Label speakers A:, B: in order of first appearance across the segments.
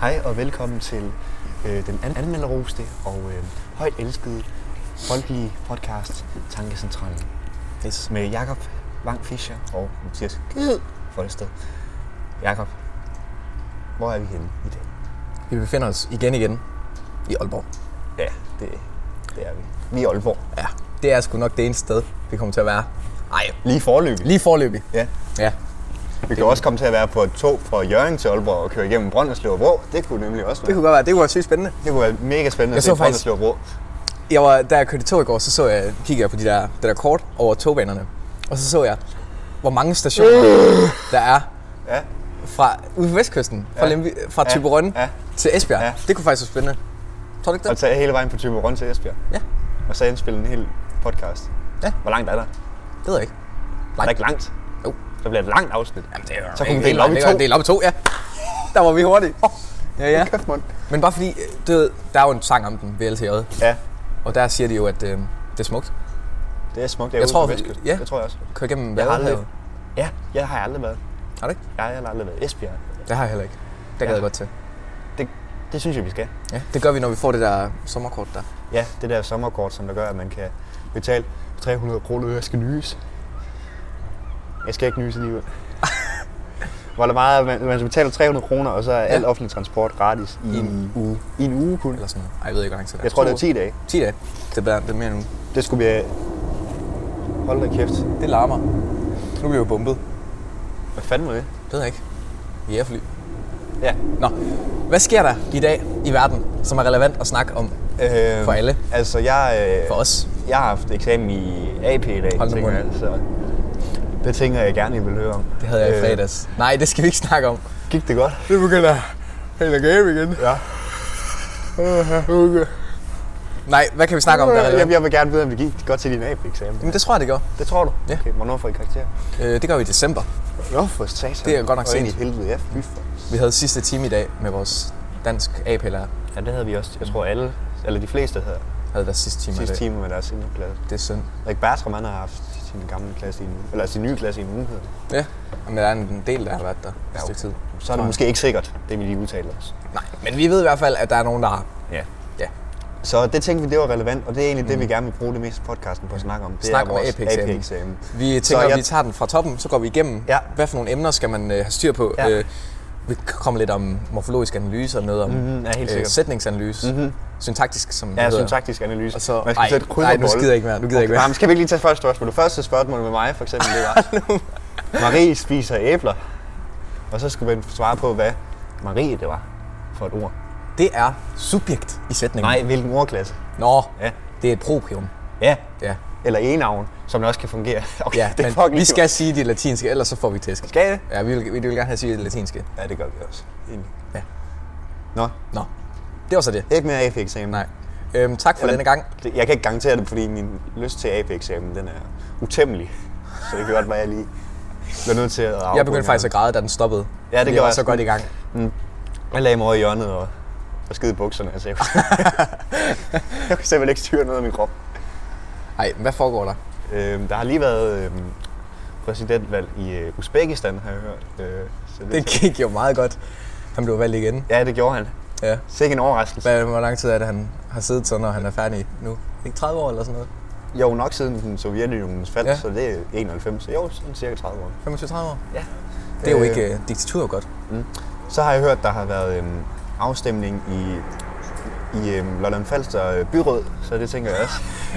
A: Hej og velkommen til øh, den an- anmelderoste og øh, højt elskede folkelige podcast Tankecentralen.
B: Yes.
A: Med Jakob Wang Fischer og Mathias Gid Folsted. Jakob, hvor er vi henne i dag?
B: Vi befinder os igen igen i Aalborg.
A: Ja, det, det er vi. Vi er i Aalborg.
B: Ja, det er sgu nok det eneste sted, vi kommer til at være. Nej,
A: Lige forløbig.
B: lige forløbig.
A: Ja.
B: Ja.
A: Vi kan også komme til at være på et tog fra Jørgen til Aalborg og køre igennem Brønderslev og Vrå. Det kunne nemlig også
B: Det
A: være.
B: kunne godt være, det kunne være sygt spændende.
A: Det kunne være mega spændende at
B: Jeg
A: se
B: så faktisk-
A: Brønderslev og Vrå.
B: Jeg var, da jeg kørte i tog i går, så, så jeg, kiggede jeg på de der, det der kort over togbanerne. Og så så jeg, hvor mange stationer der er
A: Ja,
B: fra ude på vestkysten, fra,
A: Ja.
B: ja. Lemby, fra
A: Ja.
B: Thyborøn
A: Ja.
B: til Esbjerg.
A: Ja.
B: Ja. Det kunne faktisk være spændende. Tror du ikke
A: og
B: det?
A: tage hele vejen på Thyborøn til Esbjerg.
B: Ja,
A: Og så indspille en hel podcast.
B: Ja.
A: Hvor langt er der?
B: det ved jeg ikke.
A: Er der ikke langt?
B: Jo.
A: Så bliver det et langt afsnit.
B: Jamen, det er
A: Så kunne vi dele op i
B: det er-
A: to.
B: Det er op i to, ja. Der var vi hurtige. Oh. Ja, ja.
A: Kæft, mand.
B: Men bare fordi, øh, du ved, der er jo en sang om den ved LTJ,
A: Ja,
B: og der siger de jo, at øh, det er smukt.
A: det er smukt. Jeg,
B: tror,
A: på
B: vi-
A: Vestkysten.
B: ja.
A: Det tror jeg også.
B: Kør igennem
A: Jeg har
B: Vadehavet.
A: aldrig... Ja, jeg har aldrig været.
B: Har du ikke?
A: Jeg har aldrig været i Esbjerg.
B: Det har jeg heller ikke. Det gad
A: Ja.
B: jeg godt til.
A: Det, det synes jeg, vi skal.
B: Ja, det gør vi, når vi får det der sommerkort der.
A: Ja, det der sommerkort, som der gør, at man kan betale 300 kroner, jeg skal nyse. Jeg skal ikke nyse alligevel. Hvor der meget, man, man betaler 300 kroner, og så er al
B: Ja.
A: offentlig transport gratis i en uge. I en uge kun.
B: Eller sådan noget. Ej, jeg ved ikke, hvor lang tid det er.
A: Jeg tror, det er
B: To-
A: 10 dage.
B: 10 dage. Det er, bedre, det øh, er mere nu.
A: Det skulle vi... Hold da kæft.
B: Det larmer. Nu bliver vi bombet.
A: Hvad fanden var det?
B: Det ved jeg ikke. Vi er fly.
A: Ja.
B: Nå, hvad sker der i dag i verden, som er relevant at snakke om
A: Øh,
B: For alle.
A: Altså, jeg, øh,
B: for os?
A: jeg har haft eksamen i AP i dag,
B: Hold nu
A: tænker jeg,
B: mund.
A: så det tænker jeg gerne, I vil høre om. Øh,
B: Det havde jeg i fredags. Nej, det skal vi ikke snakke om.
A: Gik det godt?
B: Det begynder helt at game igen.
A: Ja.
B: Nej, hvad kan vi snakke om, der er
A: Øh, Jeg,
B: relevant?
A: jeg vil gerne vide, om det gik godt til din AP-eksamen.
B: Jamen, det tror jeg, det gør.
A: Det tror du?
B: Ja.
A: Okay, hvornår får I karakter?
B: Øh, det gør vi i december.
A: Nå, for satan.
B: Det er godt nok
A: Og ind i
B: sent.
A: helvede, ja. Fy for.
B: Vi havde sidste time i dag med vores dansk AP-lærer.
A: Ja, det havde vi også. Jeg tror alle, eller de fleste havde
B: Havde der sidste time
A: sidste
B: i dag.
A: time med deres seniorklasse.
B: Det er synd.
A: Rik Bertram, han har haft sin gamle klasse i en uge. Eller sin nye klasse i en uge. hedder det.
B: Ja. Men der er en del, der har været der et stykke tid.
A: Så er det måske ikke sikkert, det vi lige udtaler os.
B: Nej, men vi ved i hvert fald, at der er nogen, der har.
A: Ja.
B: Ja.
A: Så det tænkte vi, det var relevant, og det er egentlig mm. det, vi gerne vil bruge det meste af podcasten på at snakke om. Det
B: Snak
A: er
B: om
A: vores
B: AP-eksamen.
A: AP-eksamen.
B: Vi
A: Så
B: tænker, jeg...
A: jeg-
B: at vi tager den fra toppen, så går vi igennem.
A: Ja.
B: Hvad for nogle emner skal man øh, have styr på?
A: Ja.
B: Øh, vi kommer lidt om morfologisk analyse og noget om øh,
A: Mhm, ja, helt sikkert. Mhm.
B: sætningsanalyse. Mm-hmm. Syntaktisk, som det
A: Ja,
B: hedder.
A: syntaktisk analyse.
B: Og så,
A: man skal
B: ej,
A: sætte kryds
B: nej,
A: og
B: nu
A: bolle.
B: gider jeg ikke mere. Nu gider jeg ikke
A: Nej,
B: mere.
A: men skal vi ikke lige tage første spørgsmål? Det første spørgsmål med mig, for eksempel, det var... Marie spiser æbler. Og så skulle man svare på, hvad Marie det var for et ord.
B: Det er subjekt i sætningen.
A: Nej, hvilken ordklasse?
B: Nå,
A: Ja.
B: det er et proprium.
A: Ja.
B: Ja.
A: Eller enavn, som det også kan fungere. Okay,
B: Ja,
A: det er
B: men
A: fucking
B: vi skal sige de latinske, ellers så får vi tæsk.
A: Skal jeg det?
B: Ja, vi vil, vi vil gerne have at sige det latinske.
A: Ja, det gør vi også. Egentlig.
B: Ja.
A: Nå,
B: Nå, det var så det.
A: ikke mere AP-eksamen.
B: Nej. Øhm, tak for
A: Eller-
B: denne gang.
A: Det- Jeg kan ikke garantere det, fordi min lyst til AP-eksamen, den er utæmmelig. Så det kan godt være, at jeg lige bliver nødt til at afbryde
B: Jeg begyndte faktisk at græde, da den stoppede.
A: det
B: fordi
A: gør
B: jeg var
A: jeg
B: så
A: sgu.
B: godt i gang.
A: Jeg lagde mig over i hjørnet og, og skide i bukserne. Altså, jeg, kunne, jeg kunne simpelthen ikke styre noget af min krop.
B: Ej, hvad foregår der?
A: Øhm, der har lige været øhm, præsidentvalg i øh, Uzbekistan, har jeg hørt. Øh, så det,
B: Det gik jo meget godt. Han blev valgt igen.
A: Ja, det gjorde han.
B: Ja.
A: Sikke en overraskelse.
B: Hvad, hvor lang tid er det, han har siddet så, når han er færdig nu? Ikke 30 år eller sådan noget?
A: Jo, nok siden den Sovjetunionens fald, ja.
B: Ja.
A: så det er 91. Jo, sådan cirka 30 år.
B: 25-30 år?
A: Ja.
B: Det er jo
A: Øh.
B: ikke øh, diktatur godt.
A: Så har jeg hørt, der har været øhm, afstemning i, i øhm, Lolland Falster øh, byråd, så det tænker jeg også.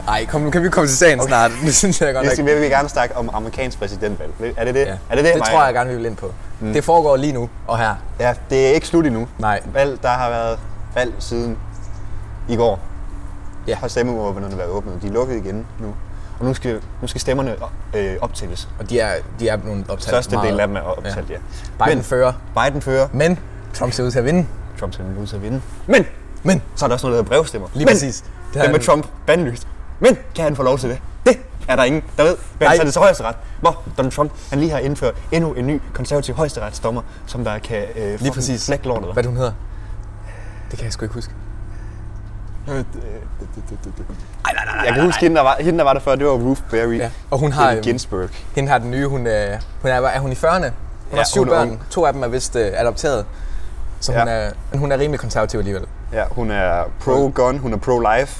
B: Ej, kom nu, kan vi komme til sagen okay. snart? Det synes jeg godt
A: Vi
B: nok.
A: skal vi vil gerne snakke om amerikansk præsidentvalg. Er det det?
B: Ja.
A: Er det, det,
B: det
A: Maja?
B: tror jeg gerne, vi vil ind på. Mm. Det foregår lige nu og her.
A: Ja, det er ikke slut endnu.
B: Nej.
A: Valg, der har været valg siden i går.
B: Ja.
A: Har stemmeåbnerne været åbnet. De er lukket igen nu. Og nu skal, nu skal stemmerne øh, optælles.
B: Og de er, de er blevet optalt
A: Største
B: meget.
A: del af dem er optalt, ja. ja.
B: Biden
A: Men
B: fører,
A: Biden fører.
B: men Trump ser ud til at vinde.
A: Trump ser ud til at vinde. Men
B: Men,
A: så er der også noget, der hedder brevstemmer.
B: lige
A: Men
B: præcis. Det
A: Det
B: har
A: er med
B: han-
A: Trump bandlyst. Men kan han få lov til det? Det er der ingen, der ved. Men
B: Nej.
A: så er det så højesteret, hvor Donald Trump han lige har indført endnu en ny konservativ højesteretsdommer, som der kan øh, fucking
B: Lige præcis.
A: flække lortet.
B: Hvad hun hedder? Det kan jeg sgu ikke huske.
A: Øh, øh, det- det- det- det- det. Jeg kan huske, hende der, var, hende der var der før, det var Ruth Berry.
B: Ja. Og hun har,
A: Allen
B: øhm,
A: Ginsburg.
B: Hende øh, har den nye, hun, øh, hun er, er hun i 40'erne? Hun
A: Ja,
B: har syv
A: hun er
B: børn.
A: ung.
B: To af dem er vist øh, adopteret. Så
A: Ja.
B: hun, er, men hun er rimelig konservativ alligevel.
A: Ja, hun er pro-gun, hun er pro-life.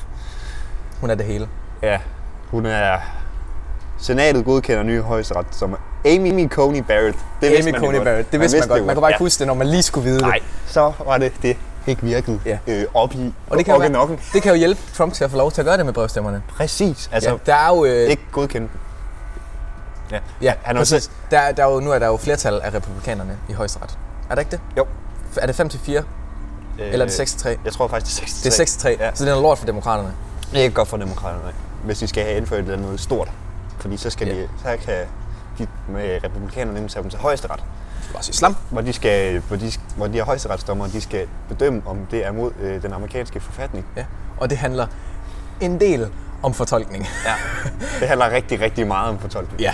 B: Hun er det hele.
A: Ja, hun er... Senatet godkender nye højesteret som Amy Coney Barrett. Det vidste
B: Amy
A: man jo
B: Coney
A: godt.
B: Barrett, det vidste man, godt.
A: jo
B: Man kunne bare ikke huske det, når man lige skulle vide
A: Nej,
B: det.
A: så var det det ikke virkede
B: Ja.
A: øh, op i
B: Og det kan, jo
A: op i nokken.
B: være, det kan jo hjælpe Trump til at få lov til at gøre det med brevstemmerne.
A: Præcis, altså
B: Altså,
A: ja,
B: ja, der er jo... Øh,
A: ikke godkendt. Ja.
B: ja,
A: han
B: han
A: er jo
B: præcis. Der, der er jo, nu er der jo flertal af republikanerne i højesteret. Er det ikke det?
A: Jo.
B: F- Er det 5 til 4, øh, eller er det 6 til 3?
A: Jeg tror faktisk, det er 6
B: Det er 6 til 3,
A: Ja.
B: ja. så det er noget lort for demokraterne.
A: Det er ikke godt for demokraterne, hvis de skal have indført et eller andet stort. Fordi så, skal
B: Ja.
A: de, så kan de med republikanerne nemlig tage dem til højesteret.
B: Bare sige slam.
A: hvor de, skal, hvor de, hvor de er højesteretsdommer, de skal bedømme, om det er mod øh, den amerikanske forfatning.
B: Ja. Og det handler en del om fortolkning.
A: Ja. Det handler rigtig, rigtig meget om fortolkning.
B: Ja.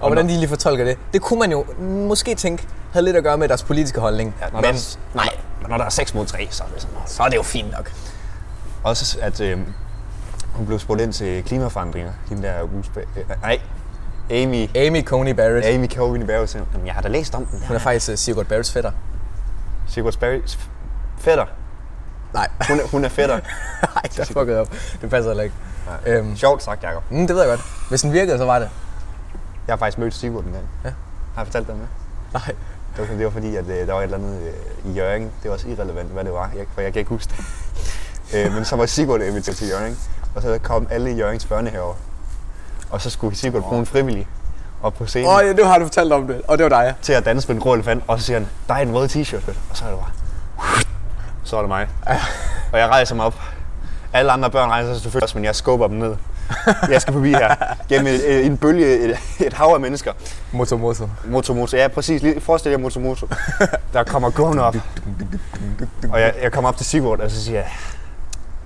B: Og hvordan de lige fortolker det, det kunne man jo måske tænke havde lidt at gøre med deres politiske holdning.
A: Ja, når,
B: men
A: der, nej. når der er 6 mod 3, så er det sådan noget.
B: så er det jo fint nok.
A: Også at øh, hun blev spurgt ind til klimaforandringer, hende der Roosevelt. Øh, nej, Amy,
B: Amy Coney Barrett,
A: Amy Cohen i Barrett. siger, Jamen, jeg har da læst om den.
B: hun er
A: Der.
B: faktisk øh, Sigurd Barretts fætter.
A: Sigurd Barretts fætter.
B: Nej,
A: Hun er, hun er fætter.
B: nej, der er fucket op. Det passer heller ikke. Øhm,
A: Sjovt sagt, Jacob.
B: mm, det ved jeg godt. Hvis den virkede, så var det.
A: Jeg har faktisk mødt Sigurd en gang.
B: Ja.
A: Har jeg fortalt dig med?
B: Nej.
A: Det var, det var fordi, at øh, der var et eller andet øh, i Jørgen. Det var også irrelevant, hvad det var, jeg, for jeg kan ikke huske det. øh, men så var Sigurd inviteret til Jørgen, og så kom alle i Jørgens børnehaver. Og så skulle Sigurd bruge en frivillig op på scenen
B: Åh,
A: oh,
B: oh, ja, nu har du fortalt om det, og det var dig.
A: til at danse med en grå elefant, og så siger han, der er en rød t-shirt, vel?" og så er det bare, så er det mig. og jeg rejser mig op. Alle andre børn rejser sig selvfølgelig også, men jeg skubber dem ned. Jeg skal forbi her, gennem et, et, en bølge, et, et hav af mennesker.
B: Moto, moto.
A: Motomoto. Ja, præcis. Lige forestil jer Motomoto. Der kommer gående op. Og jeg, jeg kommer op til Sigurd, og så siger jeg,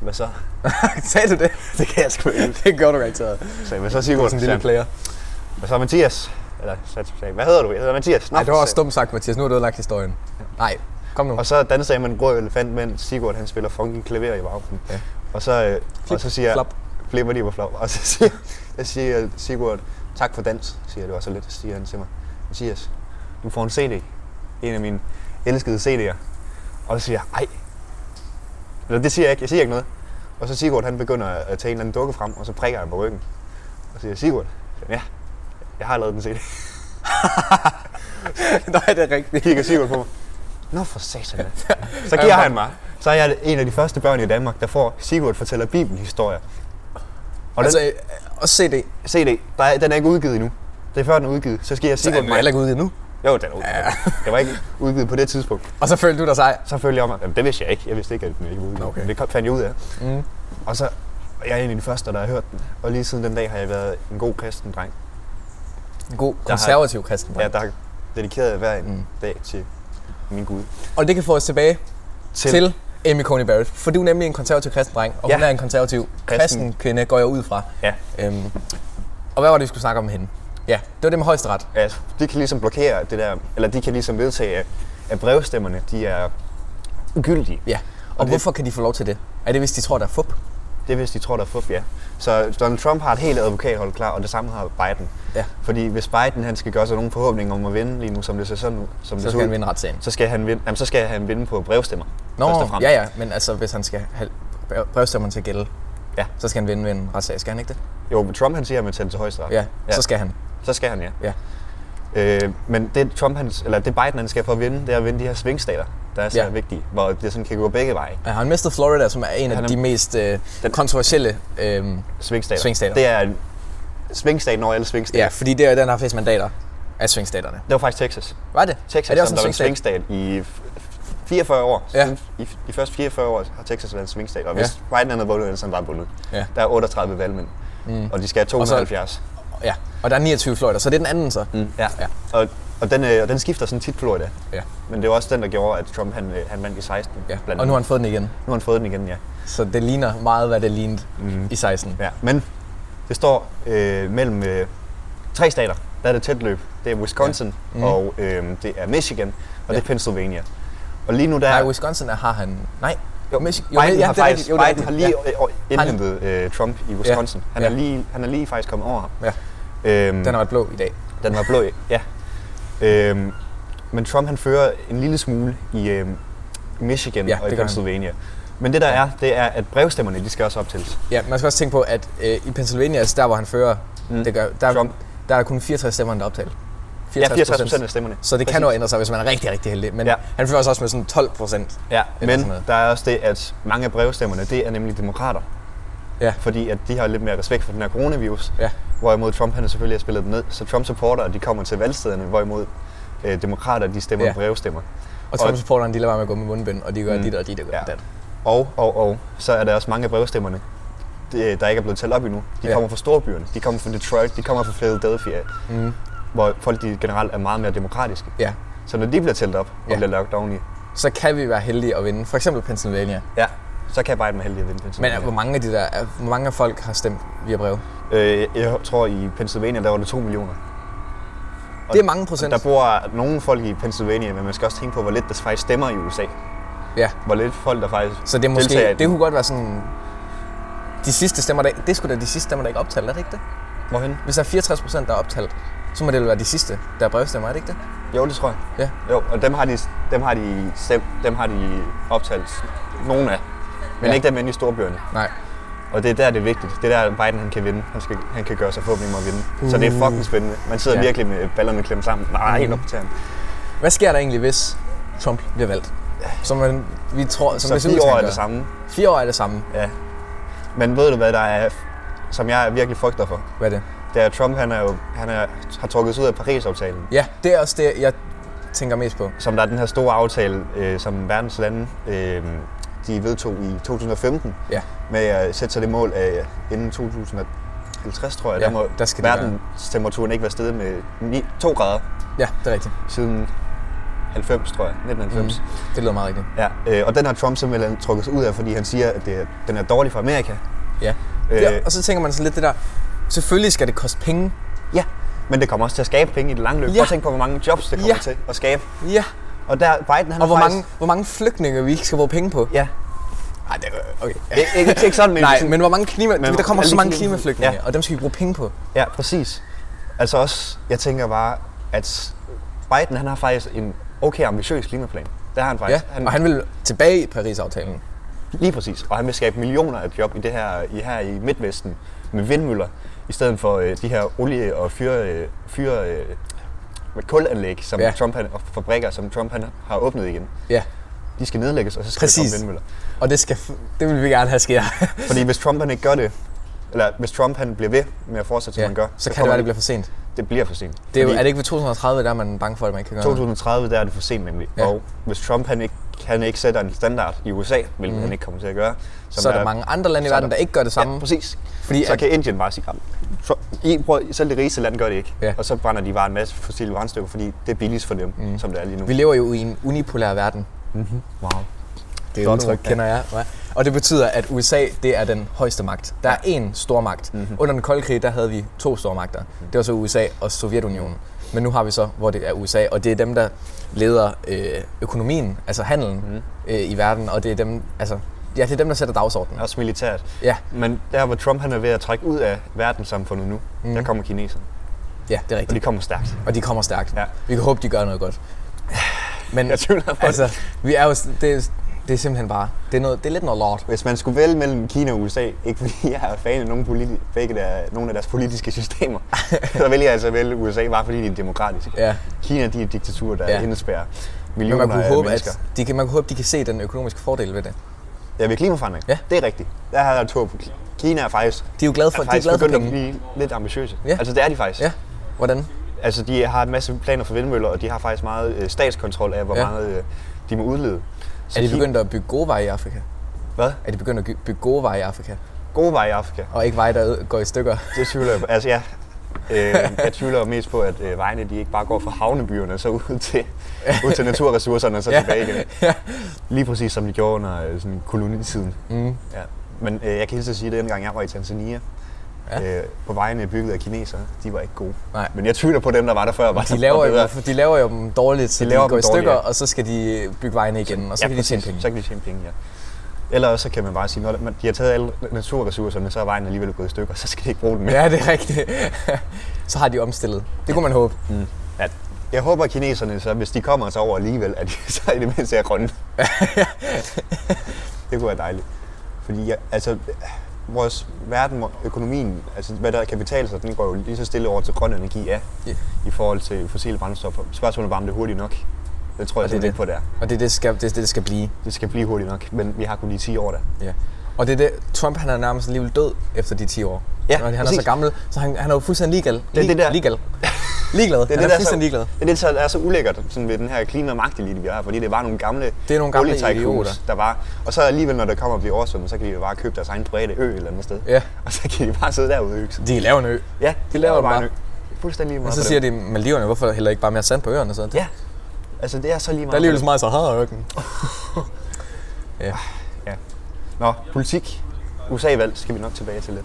A: hvad så?
B: Sagde du det?
A: Det kan jeg sgu ikke.
B: Det gør du garanteret.
A: Så jeg, hvad så
B: Du er
A: Sigurd?
B: sådan
A: Sagde
B: en lille
A: han.
B: player.
A: Hvad så Mathias? Eller så sagde jeg, hvad hedder du? Jeg hedder Mathias. Nå,
B: Nej, det var også
A: sagde-
B: dumt sagt, Mathias. Nu har du ødelagt historien. Nej, kom nu.
A: Og så danser jeg med en grå elefant, mens Sigurd han spiller funky klaver i baggrunden.
B: Ja.
A: Og så, øh, og
B: Flip,
A: så siger jeg,
B: flap.
A: flipper de på flop. Og så siger, jeg siger Sigurd, tak for dans, siger jeg. det var så lidt, så siger han til mig. Mathias, du får en CD. En af mine elskede CD'er. Og så siger jeg, ej. Eller det siger jeg ikke, jeg siger ikke noget. Og så Sigurd han begynder at tage en eller anden dukke frem, og så prikker jeg på ryggen. Og så siger jeg, Sigurd, ja, jeg har lavet den CD.
B: Nej, det er rigtigt.
A: kigger Sigurd på mig. Nå for satan. Så giver han mig. Så er jeg en af de første børn i Danmark, der får Sigurd fortæller bibelhistorier. Og
B: Altså,
A: altså,
B: øh, også CD.
A: den CD, der er, den er ikke udgivet endnu. Det er før den er udgivet, så giver jeg
B: Så er
A: Sigurd
B: den jo heller
A: mig.
B: ikke ude endnu.
A: Jo, den er udgivet. Det var ikke udgivet på det tidspunkt.
B: Og så følte du dig sej.
A: Så følger jeg om, at jamen, det vidste jeg ikke. Jeg vidste ikke, at den ikke var udgivet.
B: Okay.
A: Men Det kom- fandt jeg ud af.
B: Mm.
A: Og så jeg er en af de første, der har hørt den. Og lige siden den dag har jeg været en god kristen dreng.
B: En god konservativ kristen.
A: Ja, der har dedikeret hver en
B: Mm.
A: dag til min Gud.
B: Og det kan få os tilbage til, til Amy Coney Barrett. For du er nemlig en konservativ kristen dreng, og
A: Ja.
B: ja. hun er en konservativ kristen,
A: Kristen.
B: kvinde, går jeg ud fra.
A: Ja.
B: Øhm, og hvad var det, vi skulle snakke om med hende? Ja, det var det med højesteret.
A: at de kan ligesom blokere det der, eller de kan ligesom vedtage, at- at brevstemmerne, de er ugyldige.
B: Ja. Og,
A: Og
B: og
A: det-
B: hvorfor kan de få lov til det? Er det, hvis de tror, der er fup?
A: Det er, hvis de tror, der er fup, ja. Så Donald Trump har et helt advokathold klar, og det samme har Biden.
B: Ja.
A: Fordi hvis Biden han skal gøre sig nogle forhåbninger om at vinde lige nu, som det ser sådan ud, som
B: Så
A: det
B: skal
A: ud,
B: han vinde retssagen.
A: så skal han vinde, jamen, så skal han vinde på brevstemmer.
B: Nå,
A: først og fremmest.
B: ja, ja, men altså, hvis han skal have brev- brevstemmeren til at gælde,
A: Ja.
B: så skal han vinde ved en retssag, skal han ikke det?
A: Jo, men Trump han siger, at man tager til højesteret.
B: Ja, ja. så skal han.
A: så skal han, ja.
B: Ja.
A: Øh, men det, Trump, han, eller det Biden han skal for at vinde, det er at vinde de her svingstater, der er så
B: Ja.
A: vigtige, hvor det sådan kan gå begge veje.
B: Ja, han mistede Florida, som er en af
A: Han er-
B: de mest øh,
A: Den-
B: kontroversielle øh,
A: Svingstater.
B: Svingstater.
A: Det er svingstaten over alle svingstater.
B: Ja, fordi det er den, der har flest mandater af swingstaterne.
A: Det var faktisk Texas.
B: Var det?
A: Texas
B: er det også
A: som der var
B: en
A: en
B: swingstat?
A: svingstat i f- f- 44 år.
B: Ja.
A: Siden I f- de første 44 år har Texas været en svingstat, og hvis Biden havde vundet, så havde han bare vundet.
B: Ja.
A: Der er 38 valgmænd, mm. og de skal have
B: Og så-
A: 270.
B: Ja, og der er 29 fløjter, så det er den anden så. Mm.
A: ja.
B: Ja.
A: Og, og, den, øh, og den skifter sådan tit Florida.
B: Ja.
A: Men det var også den, der gjorde, at Trump han, øh, han vandt i 16.
B: ja.
A: blandt
B: Og nu
A: andet.
B: har han fået den igen.
A: nu har han fået den igen, ja.
B: Så det ligner meget, hvad det lignede mm. i 16.
A: ja. Men det står øh, mellem øh, tre stater. Der er det tæt løb. Det er Wisconsin, ja.
B: Mhm.
A: mm. og øh, det er Michigan, og ja. det er Pennsylvania. Og lige nu der
B: Nej, Wisconsin er, har han... Nej,
A: Jo,
B: Michi-
A: Biden
B: ja, det er
A: har
B: rigtigt.
A: faktisk
B: Jo, det er
A: Biden har
B: rigtigt.
A: lige ja. indhentet øh, Trump i Wisconsin. Ja.
B: Ja.
A: Han, er
B: Ja.
A: lige, han er lige faktisk kommet over ham.
B: Ja. ja.
A: Øhm,
B: Den har været blå i dag.
A: den var blå, ja. Øhm, men Trump han fører en lille smule i, øhm, Michigan
B: Ja,
A: ja, og
B: det
A: i
B: gør han.
A: Pennsylvania. Men det der er, det er, at brevstemmerne, de skal også optælles.
B: Ja, man skal også tænke på, at øh, i Pennsylvania, altså der hvor han fører, mm.
A: Mm.
B: det gør, der,
A: Trump.
B: der er der kun 64 stemmer, der er optalt.
A: 64 ja, 64 procent af stemmerne.
B: Så det kan
A: Præcis.
B: jo ændre sig, hvis man er rigtig, rigtig heldig. Men ja.
A: Ja.
B: han fører også med sådan 12 procent.
A: Ja,
B: Eller sådan
A: men
B: noget.
A: der er også det, at mange af brevstemmerne, det er nemlig demokrater.
B: Ja.
A: Fordi at de har lidt mere respekt for den her coronavirus.
B: Ja.
A: Hvorimod Trump han har selvfølgelig har spillet dem ned. Så Trump-supportere, de kommer til valgstederne, hvorimod øh, demokrater, de stemmer
B: Ja.
A: ja. brevstemmer.
B: Og Trump-supporterne, de lader være med at gå med mundbind, og de gør mm.
A: Mm.
B: dit og dit og
A: Ja.
B: ja. dat.
A: Og, og, og, så er der også mange af brevstemmerne, de- der ikke er blevet talt op endnu. De
B: Ja.
A: ja. kommer fra storbyerne, de kommer fra Detroit, de kommer fra Philadelphia,
B: Mm.
A: hvor folk de generelt er meget mere demokratiske.
B: Ja.
A: Så når de bliver talt op og
B: Ja.
A: ja. bliver lagt oveni,
B: Så kan vi være heldige at vinde. For eksempel Pennsylvania.
A: ja, så kan jeg bare med heldig at vinde
B: Men
A: Pennsylvania.
B: ja. hvor mange af de der, er- hvor mange af folk har stemt via brev?
A: Øh, jeg tror i Pennsylvania, der var det 2 millioner. Og-
B: Det er mange procent.
A: Der bor nogle folk i Pennsylvania, men man skal også tænke på, hvor lidt der faktisk stemmer i USA.
B: Ja.
A: Hvor lidt folk der faktisk...
B: Så det er måske,
A: deltager i
B: det
A: den.
B: kunne godt være sådan... De sidste stemmer, der, det skulle da de sidste stemmer, der ikke er optalt, er det ikke det?
A: Hvorhen?
B: Hvis der er 64 procent, der er optalt, så må det jo være de sidste, der er brevstemmer, er det ikke det?
A: Jo, det tror jeg.
B: Ja.
A: Jo, og dem har de, dem har de, stemt, dem har de optalt nogle af. Men
B: Ja.
A: ja. ikke dem inde i storbyerne.
B: Nej.
A: Og det er der, det er vigtigt. Det er der, Biden han kan vinde. Han, skal, han kan gøre sig forhåbentlig med at vinde. Så det er fucking spændende. Man sidder
B: Uh. Ja. Mm.
A: ja. virkelig med ballerne klemt sammen. Nej, helt op på tæerne.
B: Hvad sker der egentlig, hvis Trump bliver valgt? Som man, vi tror, som
A: Så
B: det ser ud
A: fire år
B: til, han
A: er
B: gør.
A: det samme.
B: Fire år er det samme.
A: Ja. Men ved du, hvad der er, som jeg virkelig frygter for?
B: Hvad er det?
A: Det er, at Trump han er jo, han er, har trukket sig ud af Paris-aftalen.
B: Ja, det er også det, jeg tænker mest på.
A: som der er den her store aftale, øh, som verdens lande øh, de vedtog i 2015,
B: Ja.
A: med at sætte sig det mål af øh, inden 2050, tror jeg,
B: Ja,
A: der må
B: der skal det
A: verdenstemperaturen ikke være steget med 9, 2 grader
B: Ja, det er rigtigt.
A: siden 90, tror jeg, 1990. Mm.
B: Øhm, Det lyder meget rigtigt.
A: Ja, øh, og den har Trump simpelthen trukket sig ud af, fordi han siger, at det, er- den er dårlig for Amerika.
B: Ja.
A: Øh,
B: Øh. ja. Og så tænker man sådan lidt det der, selvfølgelig skal det koste penge.
A: Ja, men det kommer også til at skabe penge i det lange løb.
B: Ja.
A: Ja. Prøv at tænke på, hvor mange jobs det kommer
B: Ja.
A: ja. til at skabe.
B: Ja.
A: Og der, Biden, han
B: Og hvor
A: er faktisk,
B: mange, hvor mange flygtninge vi ikke skal bruge penge på.
A: Ja,
B: Nej, det er okay.
A: ikke, ikke, ikke sådan, men
B: Nej,
A: sådan-
B: men hvor mange klima... ligesom- Men
A: Men
B: der kommer
A: alle
B: så mange
A: klima-
B: klimaflygtninge, ja.
A: Ja.
B: og dem skal vi bruge penge på.
A: Ja, præcis. Altså også, jeg tænker bare, at Biden han har faktisk en okay ambitiøs klimaplan. Det har han
B: Ja.
A: faktisk. Han,
B: Og han vil tilbage i Paris-aftalen.
A: Lige præcis. Og han vil skabe millioner af job i det her i, her i Midtvesten med vindmøller, i stedet for øh, de her olie- og fyre, øh, fyre øh, med kulanlæg, som
B: Ja.
A: ja. Trump han, og fabrikker, som Trump han har åbnet igen.
B: Ja.
A: De skal nedlægges, og så skal der
B: Præcis.
A: komme vindmøller.
B: Og det, skal, det vil vi gerne have sker.
A: Fordi hvis Trump han ikke gør det, eller hvis Trump han bliver ved med at fortsætte, som
B: ja.
A: han gør,
B: Så kan det
A: kommer-
B: være, det bliver for sent.
A: det bliver for sent.
B: Det er, jo,
A: Fordi-
B: er det ikke ved 2030, der er man bange for, at man ikke kan gøre noget?
A: 2030, der er det for sent nemlig.
B: Ja.
A: Ja. Og hvis Trump han ikke, han ikke sætter en standard i USA, hvilket mm. han ikke kommer til at gøre,
B: Så er der mange andre lande i
A: så er
B: verden, der
A: der-
B: ikke gør det samme.
A: Ja, præcis.
B: Fordi
A: Fordi så
B: at-
A: kan Indien bare sige, "Jamen, Trump- I, prøv, selv det rigeste land gør det ikke.
B: Ja.
A: Ja. Og så brænder de bare en masse fossile brændstykker, fordi det er billigst for dem, mm. som det er lige nu.
B: Vi lever jo i en unipolær verden. Mm-hmm.
A: Wow.
B: Det
A: Flot
B: udtryk
A: ord, ja.
B: kender jeg. Hva? Og det betyder, at USA det er den højeste magt. Der er én stor magt.
A: Mhm.
B: Mm-hmm. Under den kolde krig, der havde vi to store magter. Det var så USA og Sovjetunionen. Men nu har vi så, hvor det er USA, og det er dem, der leder øh, økonomien, altså handelen
A: Mhm.
B: mm. øh, i verden, og det er dem, altså, ja, det er dem, der sætter dagsordenen.
A: Også militært.
B: Ja,
A: Men der hvor Trump han er ved at trække ud af verdenssamfundet nu, mm. der kommer kineserne.
B: ja, det er
A: Og de
B: rigtigt.
A: kommer stærkt.
B: Og de kommer stærkt.
A: Ja.
B: Vi kan håbe, de gør noget godt. Men
A: Jeg tvivler på det.
B: altså, vi er jo, s- det, er- det er simpelthen bare, det er, noget, det er lidt noget lort.
A: Hvis man skulle vælge mellem Kina og USA, ikke fordi jeg er fan af nogen, politi- begge der, nogen af deres politiske systemer, så vælger jeg altså at vælge USA, bare fordi de er demokratiske.
B: Ja.
A: Kina de er et diktatur, der
B: Ja.
A: ja. indespærrer
B: Men
A: millioner
B: man kunne,
A: af
B: håbe,
A: mennesker.
B: at de kan, man kunne håbe, de kan se den økonomiske fordel ved det.
A: Ja, ved klimaforandring.
B: Ja.
A: Det er rigtigt. Der har jeg et håb. Kina er faktisk,
B: De er jo glade for,
A: er
B: de er
A: faktisk
B: glade for
A: begyndt at
B: penge.
A: blive lidt ambitiøse.
B: Ja.
A: Altså det er de faktisk.
B: Ja, hvordan?
A: Altså de har en masse planer for vindmøller, og de har faktisk meget øh, statskontrol af, hvor
B: Ja.
A: meget øh, de må udlede. Så
B: Er de
A: Ki-
B: begyndt at bygge gode veje i Afrika?
A: Hvad?
B: Er de begyndt at gy- bygge gode veje i Afrika?
A: Gode veje i Afrika.
B: Og ikke veje, der ø- går i stykker?
A: Det tvivler jeg på. Altså, ja. Øh, jeg tvivler jo mest på, at øh, vejene de ikke bare går fra havnebyerne og så ud til, ud til naturressourcerne og så
B: Ja.
A: tilbage igen.
B: Ja.
A: Lige præcis som de gjorde under øh, sådan kolonitiden. Mm. Ja. Men øh, jeg kan hilse at sige, at dengang jeg var i Tanzania,
B: Ja.
A: ja. øh, på vejene bygget af kinesere, de var ikke gode.
B: Nej.
A: Men jeg tvivler på dem, der var der før. Var
B: De laver,
A: bedre.
B: jo, de laver jo dem dårligt, så de,
A: De laver
B: de går
A: dem
B: i stykker,
A: dårligt, ja.
B: og så skal de bygge vejene igen, og så ja, kan de tjene
A: præcis.
B: penge.
A: Så kan de tjene penge, ja. Ellers så kan man bare sige, når man- de har taget alle naturressourcerne, så er vejen alligevel gået i stykker, så skal de ikke bruge dem mere.
B: Ja, det er rigtigt. så har de omstillet. Det kunne man håbe.
A: Mm. Ja, Jeg håber, at kineserne, så, hvis de kommer så over alligevel, at de så i det mindste er grønne. det kunne være dejligt. Fordi jeg, altså, vores verden, økonomien, altså hvad der kan betale sig, den går jo lige så stille over til grøn energi af,
B: Ja.
A: i forhold til fossile brændstoffer. Spørgsmålet er bare, om det er hurtigt nok. Det tror jeg
B: det er
A: simpelthen ikke på, det er.
B: Og det er det, det skal, det, er det, det skal blive.
A: Det skal blive hurtigt nok, men vi har kun lige 10 år der.
B: Ja. Og det er det, Trump han er nærmest alligevel død efter de 10 år.
A: Ja,
B: Når han er så
A: præcis.
B: gammel, så han, han er jo fuldstændig ligegal.
A: Det er det der-
B: Ligegal. Ligeglad. det er han det, er
A: der så,
B: fuldstændig ligeglad.
A: Det er det, der er så ulækkert sådan ved den her klimamagtelite, vi har, fordi det var nogle gamle
B: Det er nogle gamle
A: olietycoons,
B: idioter.
A: der var. Og så alligevel, når der kommer og bliver oversvømmet, så kan de jo bare købe deres egen private ø et eller andet sted.
B: Ja.
A: Og så kan de bare sidde derude og hygge sig.
B: De laver en ø.
A: Ja,
B: de laver
A: bare en
B: bare.
A: ø. Det er Fuldstændig lige
B: Men
A: meget
B: så
A: for
B: siger
A: dem.
B: de, Maldiverne, hvorfor heller ikke bare mere sand på øerne? Så?
A: Ja, altså det er så lige
B: Der er
A: meget.
B: alligevel så meget Sahara-ørken.
A: for dem. Nå, politik. USA-valg skal vi nok tilbage til lidt.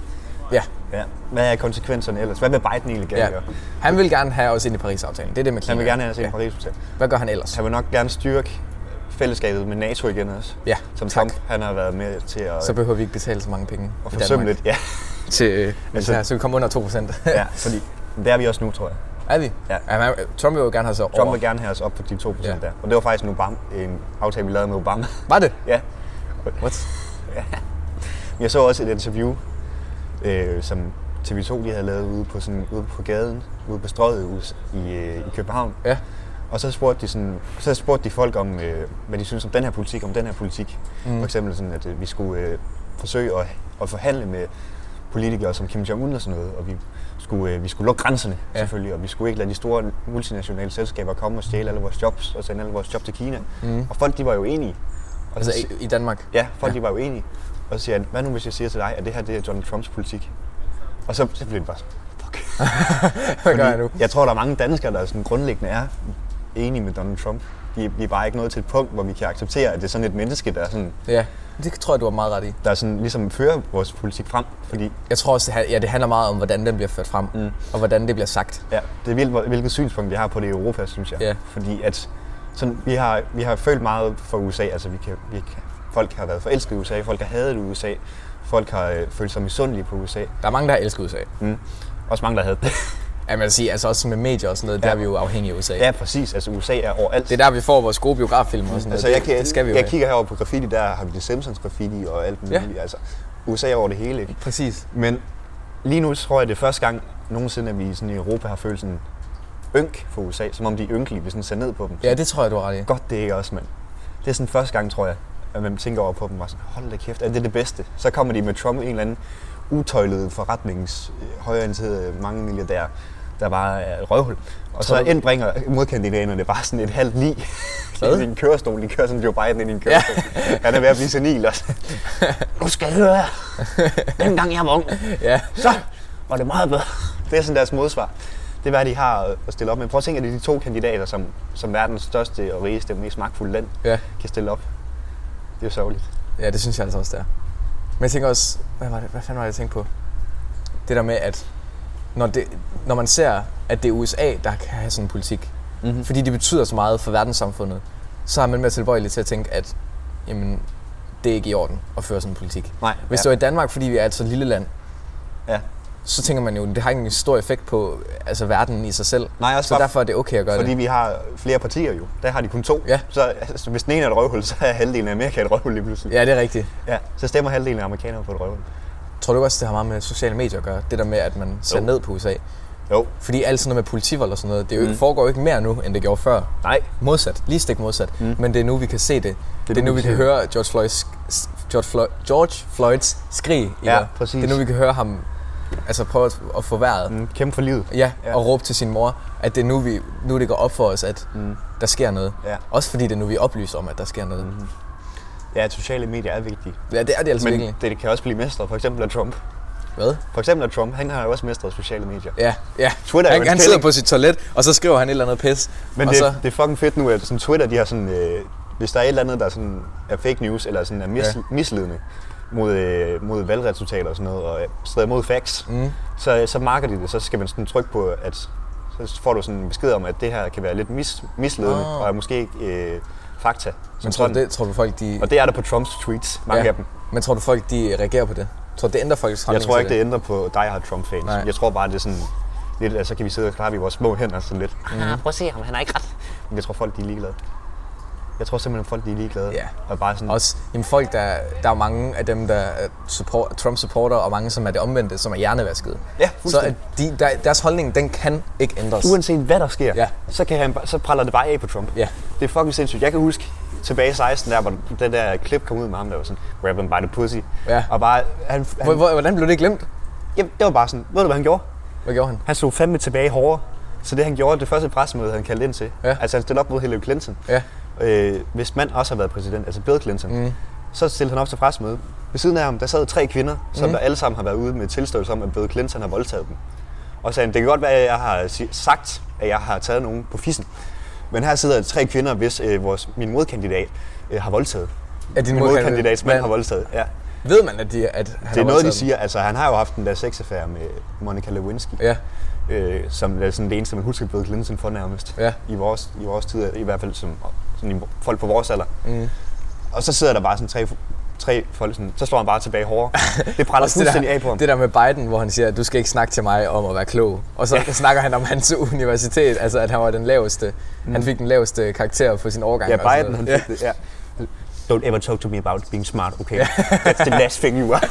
B: Ja.
A: Ja. Hvad er konsekvenserne ellers? Hvad vil Biden egentlig gerne
B: ja.
A: ja. gøre?
B: Han vil gerne have os ind i Paris-aftalen. Det er det med klima.
A: Han vil gerne have os ind i paris
B: Hvad gør han ellers?
A: Han vil nok gerne styrke fællesskabet med NATO igen også.
B: Ja,
A: Som
B: tak.
A: Trump, han har været med til at,
B: Så behøver vi ikke betale så mange penge
A: at
B: i
A: forsømme
B: Danmark
A: lidt. Ja.
B: til øh,
A: Altså-
B: altså, så vi kommer under 2 procent.
A: ja, fordi det er vi også nu, tror jeg.
B: er vi?
A: Ja.
B: man, Trump vil jo gerne have så
A: Trump
B: over.
A: vil gerne have os op på de 2%
B: Ja.
A: der. Og det var faktisk en, Obama, en aftale, vi lavede med Obama.
B: Var det?
A: ja.
B: What?
A: Men Jeg så også et interview, øh, som TV2 de havde lavet ude på, sådan, ude på gaden, ude på strøget hus i, øh, i København.
B: Ja.
A: Og så spurgte de, sådan, så spurgte de folk om, øh, hvad de synes om den her politik, om den her politik. Mm. For eksempel sådan, at øh, vi skulle øh, forsøge at, at forhandle med politikere som Kim Jong-un og sådan noget, og vi skulle, øh, vi skulle lukke grænserne ja.
B: Ja.
A: selvfølgelig, og vi skulle ikke lade de store multinationale selskaber komme og stjæle alle vores jobs og sende alle vores job til Kina. Mm. Og folk de var jo enige. Og så
B: Mhm. Altså i, i Danmark.
A: Ja, folk ja. de var jo enige. Og så siger han, hvad nu hvis jeg siger til dig, at det her det er Donald Trumps politik? Og så, så blev det bare sådan, fuck.
B: Hvad gør jeg nu?
A: jeg tror, der er mange danskere, der sådan grundlæggende er enige med Donald Trump. Vi, vi er bare ikke nået til et punkt, hvor vi kan acceptere, at det er sådan et menneske, der, er sådan,
B: Ja, det tror jeg, du har meget ret i.
A: der er sådan, ligesom fører vores politik frem. Fordi
B: Jeg tror også, det han- ja, det handler meget om, hvordan den bliver ført frem, mm. og hvordan det bliver sagt.
A: ja, det er vildt, hvor- hvilket synspunkt vi har på det i Europa, synes jeg.
B: Ja.
A: Fordi at sådan, vi, har, vi har følt meget for USA. Altså, vi kan, vi kan, folk har været forelsket i USA, folk har hadet USA, folk har øh, følt sig misundelige på USA.
B: Der er mange, der elsker USA.
A: Mm. Også mange, der havde det.
B: Ja, man kan sige, altså også med medier og sådan noget, ja. der
A: Ja.
B: er vi jo afhængige af USA.
A: Ja, præcis. Altså USA er overalt.
B: Det er der, vi får vores gode biograffilm og sådan noget.
A: altså, jeg,
B: det,
A: kan,
B: det skal vi jo
A: jeg
B: have.
A: kigger herover på graffiti, der har vi det Simpsons graffiti og alt muligt.
B: Ja.
A: Ja. Altså, USA er over det hele, ikke?
B: Præcis.
A: Men lige nu tror jeg, det er første gang nogensinde, at vi sådan i Europa har følt sådan ynk for USA, som om de er ynkelige, hvis man ser ned på dem.
B: Ja, det tror jeg, du har ret i.
A: Godt, det er ikke også, mand. Det er sådan første gang, tror jeg, at man tænker over på dem og sådan, hold da kæft, er det det bedste? Så kommer de med Trump, en eller anden utøjlet forretnings, øh, højorienterede mange milliardær, der bare er et røvhul. Og så
B: Tror du-
A: indbringer modkandidaterne bare sådan et halvt lig
B: Hvad?
A: i en kørestol. De kører sådan Joe Biden ind i en kørestol. Ja. Han er ved at blive senil også. nu skal I høre her. Dengang jeg var ung,
B: Ja.
A: så var det meget bedre. Det er sådan deres modsvar. Det er, hvad de har øh, at stille op med. Prøv at tænke, at det er de to kandidater, som, som verdens største og rigeste og mest magtfulde land
B: Ja.
A: kan stille op. Det er jo sørgeligt.
B: ja, det synes jeg altså også, det er. Men jeg tænker også, hvad, var det, hvad fanden var det, jeg tænkte på? Det der med, at når, det, når man ser, at det er USA, der kan have sådan en politik,
A: Mhm.
B: mm-hmm. fordi det betyder så meget for verdenssamfundet, så er man mere tilbøjelig til at tænke, at jamen, det er ikke i orden at føre sådan en politik.
A: Nej,
B: Hvis ja. det var i Danmark, fordi vi er et så lille land,
A: ja.
B: så tænker man jo, det har ikke en stor effekt på altså, verden i sig selv.
A: Nej, også
B: så
A: bare-
B: derfor er det okay at gøre
A: Fordi
B: det.
A: vi har flere partier jo. Der har de kun to.
B: Ja.
A: Så altså, hvis den ene er et røvhul, så er halvdelen af Amerika et røvhul lige pludselig.
B: Ja, det er rigtigt.
A: ja. Så stemmer halvdelen af amerikanere på et røvhul.
B: Tror du ikke også, det har meget med sociale medier at gøre? Det der med, at man ser
A: Jo.
B: jo. ned på USA.
A: Jo.
B: Fordi alt sådan noget med politivold og sådan noget, det er jo, mm. foregår jo ikke mere nu, end det gjorde før.
A: Nej.
B: Modsat. Lige stik modsat. Mm. Men det er nu, vi kan se det. Det er, det er nu, vi kan
A: se det.
B: høre George Floyds, George, Floyd, George Floyds skrig. i
A: Ja,
B: går.
A: præcis.
B: Det er nu, vi kan høre ham altså, prøve at, at få vejret. Mm.
A: Mm, Kæmpe for livet.
B: Ja,
A: Ja.
B: ja, og råbe til sin mor, at det er nu, vi, nu det går op for os, at mm. der sker noget.
A: Ja.
B: Også fordi det er nu, vi oplyser om, at der sker noget. Mm.
A: Ja, at sociale medier er vigtige.
B: Ja, det er det altså
A: Men
B: virkelig.
A: det, det kan også blive mestret. For eksempel af Trump.
B: Hvad?
A: For eksempel af Trump. Han har jo også mestret sociale medier.
B: Ja, ja.
A: Twitter er jo en
B: han, han
A: kælling.
B: sidder på sit toilet, og så skriver han et eller andet pis.
A: Men
B: og
A: det,
B: så,
A: det er fucking fedt nu, at sådan Twitter, de har sådan, øh, hvis der er et eller andet, der sådan er fake news, eller sådan er mis, ja.
B: Ja.
A: misledende mod, øh, mod valgresultater og sådan noget, og øh, strider mod facts, mm. så, så marker de det, så skal man sådan trykke på, at så får du sådan en besked om, at det her kan være lidt mis, misledende, oh.
B: Ah.
A: og er måske ikke øh, fakta.
B: men
A: som
B: tror du,
A: sådan.
B: det, tror du folk, de...
A: Og det er der på Trumps tweets, mange ja. af dem.
B: Men tror du folk, de reagerer på det? Tror du, det ændrer folks
A: Jeg
B: holdning
A: tror
B: til
A: ikke, det ændrer på dig har Trump-fans.
B: Nej.
A: Jeg tror bare, det er sådan, lidt, at så kan vi sidde og klare i vores små hænder sådan lidt. Mm. Prøv at se ham, han har ikke ret. Men jeg tror, folk de er ligeglade. Jeg tror simpelthen, folk de er ligeglade.
B: Ja.
A: Og bare sådan,
B: Også jamen folk, der, der er mange af dem, der er support, Trump-supporter, og mange, som er det omvendte, som er hjernevaskede.
A: Ja,
B: Så
A: fuldstændig.
B: at de, der, deres holdning, den kan ikke ændres.
A: uanset hvad der sker,
B: Ja.
A: så, kan han, så praller det bare af på Trump.
B: Ja.
A: Det er fucking sindssygt. Jeg kan huske tilbage i 16, der, hvor den der klip kom ud med ham, der var sådan, grab him by the pussy.
B: Ja.
A: Og bare, han, han,
B: Hvor- hvor- Hvordan blev det glemt?
A: jamen, det var bare sådan, ved du hvad han gjorde?
B: Hvad gjorde han?
A: Han slog fandme tilbage hårdere. Så det han gjorde, det første pressemøde, han kaldte ind til,
B: Ja.
A: altså han stillede op mod Hillary Clinton,
B: Ja.
A: øh, hvis mand også har været præsident, altså Bill Clinton, mm. så stillede han op til pressemøde. Ved siden af ham, der sad tre kvinder, som mm. der alle sammen har været ude med tilståelse om, at Bill Clinton har voldtaget dem. Og sagde, han, det kan godt være, at jeg har si- sagt, at jeg har taget nogen på fissen. Men her sidder tre kvinder, hvis øh, vores, min modkandidat øh, har voldtaget.
B: Er din
A: Min modkandidats mand
B: Men
A: har voldtaget, ja.
B: Ved man, at, de, at han
A: Det er
B: har
A: noget, de
B: voldtaget
A: siger. Altså, han har jo haft den der sexaffære med Monica Lewinsky
B: dem? Ja.
A: øh, som er sådan det eneste, man husker Bill Clinton for nærmest.
B: Ja.
A: I, vores, I vores tid, i hvert fald som sådan i, folk på vores alder. Mm. Og så sidder der bare sådan tre, tre folk, sådan, så slår han bare tilbage hårdere. Det praller
B: Også det
A: fuldstændig af på
B: der,
A: ham.
B: det der med Biden, hvor han siger, at du skal ikke snakke til mig om at være klog. Og så ja. snakker han om hans universitet, altså at han var den laveste. Mm. Han fik den laveste karakter på sin årgang.
A: ja,
B: og sådan
A: Biden, han
B: noget.
A: fik det, ja. Don't ever talk to me about being smart, okay? That's the last thing you are.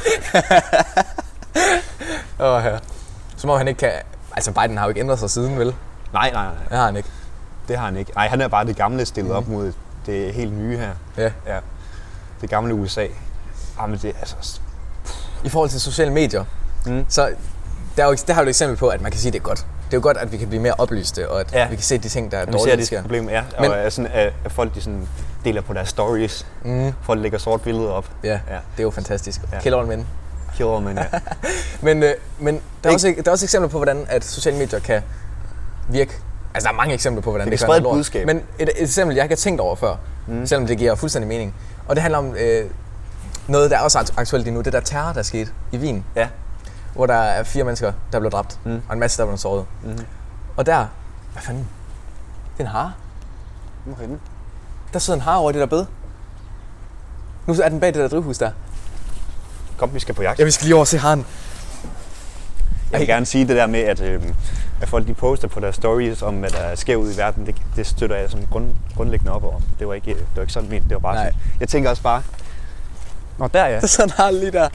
B: Åh, ja. Som om han ikke kan... Altså, Biden har jo ikke ændret sig siden, vel?
A: Nej, nej, nej.
B: Det har han ikke.
A: Det har han ikke. Nej, han er bare det gamle stillet
B: Mm.
A: op mod det helt nye her.
B: Ja.
A: Ja. Det gamle USA. Jamen, det er altså...
B: I forhold til sociale medier,
A: Mm.
B: mm. så der, er jo, der har du et eksempel på, at man kan sige, at det er godt. Det er jo godt, at vi kan blive mere oplyste, og at
A: Ja.
B: ja. vi kan se de ting, der er
A: Man ser,
B: dårlige,
A: at det
B: der
A: er
B: sker.
A: et problem, ja. Men,
B: Men-
A: og er sådan, at, at folk de sådan, deler på deres stories.
B: Mm.
A: Folk lægger sort billeder op.
B: Ja,
A: Ja.
B: ja, det er jo fantastisk.
A: Ja.
B: Ja. Kill all men.
A: Kjore, men ja.
B: Men, øh, men der, er
A: Ik-
B: også, der er også eksempler på, hvordan at sociale medier kan virke. Altså, der er mange eksempler på, hvordan
A: Det
B: det,
A: kan
B: gør
A: sprede
B: noget
A: et
B: lort.
A: budskab.
B: Men et, et eksempel, jeg ikke har tænkt over før, mm. selvom det giver fuldstændig mening. Og det handler om øh, noget, der er også aktuelt lige nu. Det der terror, der skete i Wien.
A: ja.
B: hvor der er fire mennesker, der blev dræbt, mm. og en masse, der blev såret. Mm.
A: Mm-hmm.
B: Og der, hvad fanden? Det er en hare.
A: Okay.
B: Der sidder en hare over i det der bed. Nu er den bag det der drivhus der.
A: Kom, vi skal på jagt.
B: vi skal lige over og se haren.
A: Jeg vil gerne sige det der med, at, øh, at folk de poster på deres stories om, hvad der sker ude i verden. Det, det støtter jeg sådan grund, grundlæggende op over. Det var ikke, det var ikke sådan ment. Det var bare
B: Nej.
A: sådan. Jeg tænker også bare... Nå, der ja.
B: Der sidder en hare lige der.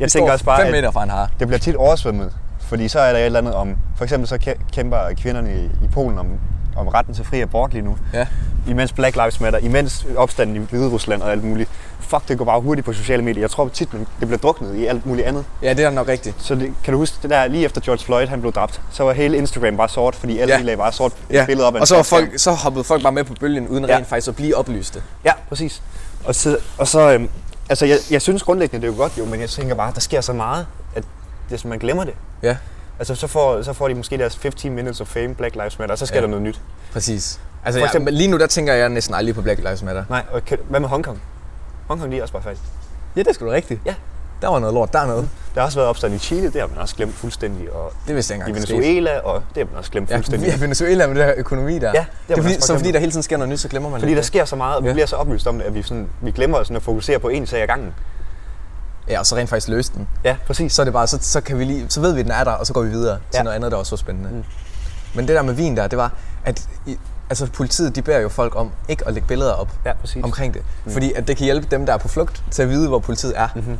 A: Jeg tænker også bare,
B: 5
A: at
B: meter fra en hare.
A: det bliver tit oversvømmet. Fordi så er der et eller andet om... For eksempel så kæ- kæmper kvinderne i, i Polen om, om retten til fri abort lige nu.
B: Ja.
A: imens Black Lives Matter, imens opstanden i Hvide Rusland og alt muligt. Fuck, det går bare hurtigt på sociale medier. Jeg tror tit, man- det bliver druknet i alt muligt andet.
B: ja, det er nok rigtigt.
A: Så det, kan du huske det der, lige efter George Floyd han blev dræbt, så var hele Instagram bare sort, fordi alle
B: Ja.
A: ja. lagde bare sort billeder op af en
B: og så, var
A: sort skærm.
B: folk, så hoppede folk bare med på bølgen, uden
A: Ja.
B: ja. rent faktisk at blive oplyste.
A: Ja, præcis. Og så, og så øhm, altså jeg, jeg synes grundlæggende, det er jo godt jo, men jeg tænker bare, der sker så meget, at det, man glemmer det.
B: Ja,
A: Altså så får, så får de måske deres 15 minutes of fame, Black Lives Matter, og så sker ja.
B: Ja.
A: der noget nyt.
B: præcis.
A: For
B: Altså, jeg,
A: eksempel-
B: men lige nu der tænker jeg næsten aldrig på Black Lives Matter.
A: Nej, og kan, hvad med Hongkong? Hongkong lige også bare faktisk.
B: Ja, det er sgu da rigtigt. Ja. Der var noget lort dernede.
A: Der har også været opstand i Chile, det har man også glemt fuldstændig, og
B: Det vidste jeg
A: i
B: ikke engang. skete.
A: Venezuela, og det har man også glemt
B: Ja,
A: fuldstændig.
B: ja, Venezuela med det her økonomi der.
A: Ja, det har man
B: det er
A: også
B: fordi, så
A: glemt.
B: fordi der hele tiden sker noget nyt, så glemmer man
A: Fordi der
B: det.
A: sker så meget, og vi
B: Ja.
A: bliver så oplyst om det, at vi, sådan, vi glemmer sådan at fokusere på én sag ad gangen.
B: Ja, og så rent faktisk løse den.
A: Ja, præcis.
B: Så er det bare, så, så, kan vi lige, så ved vi, at den er der, og så går vi videre til
A: Ja.
B: noget andet, der også var spændende. Mm. Men det der med vin der, det var, at i, altså, politiet de beder jo folk om ikke at lægge billeder op
A: Ja, præcis.
B: omkring det. Mm. Fordi at det kan hjælpe dem, der er på flugt, til at vide, hvor politiet er. Mm-hmm.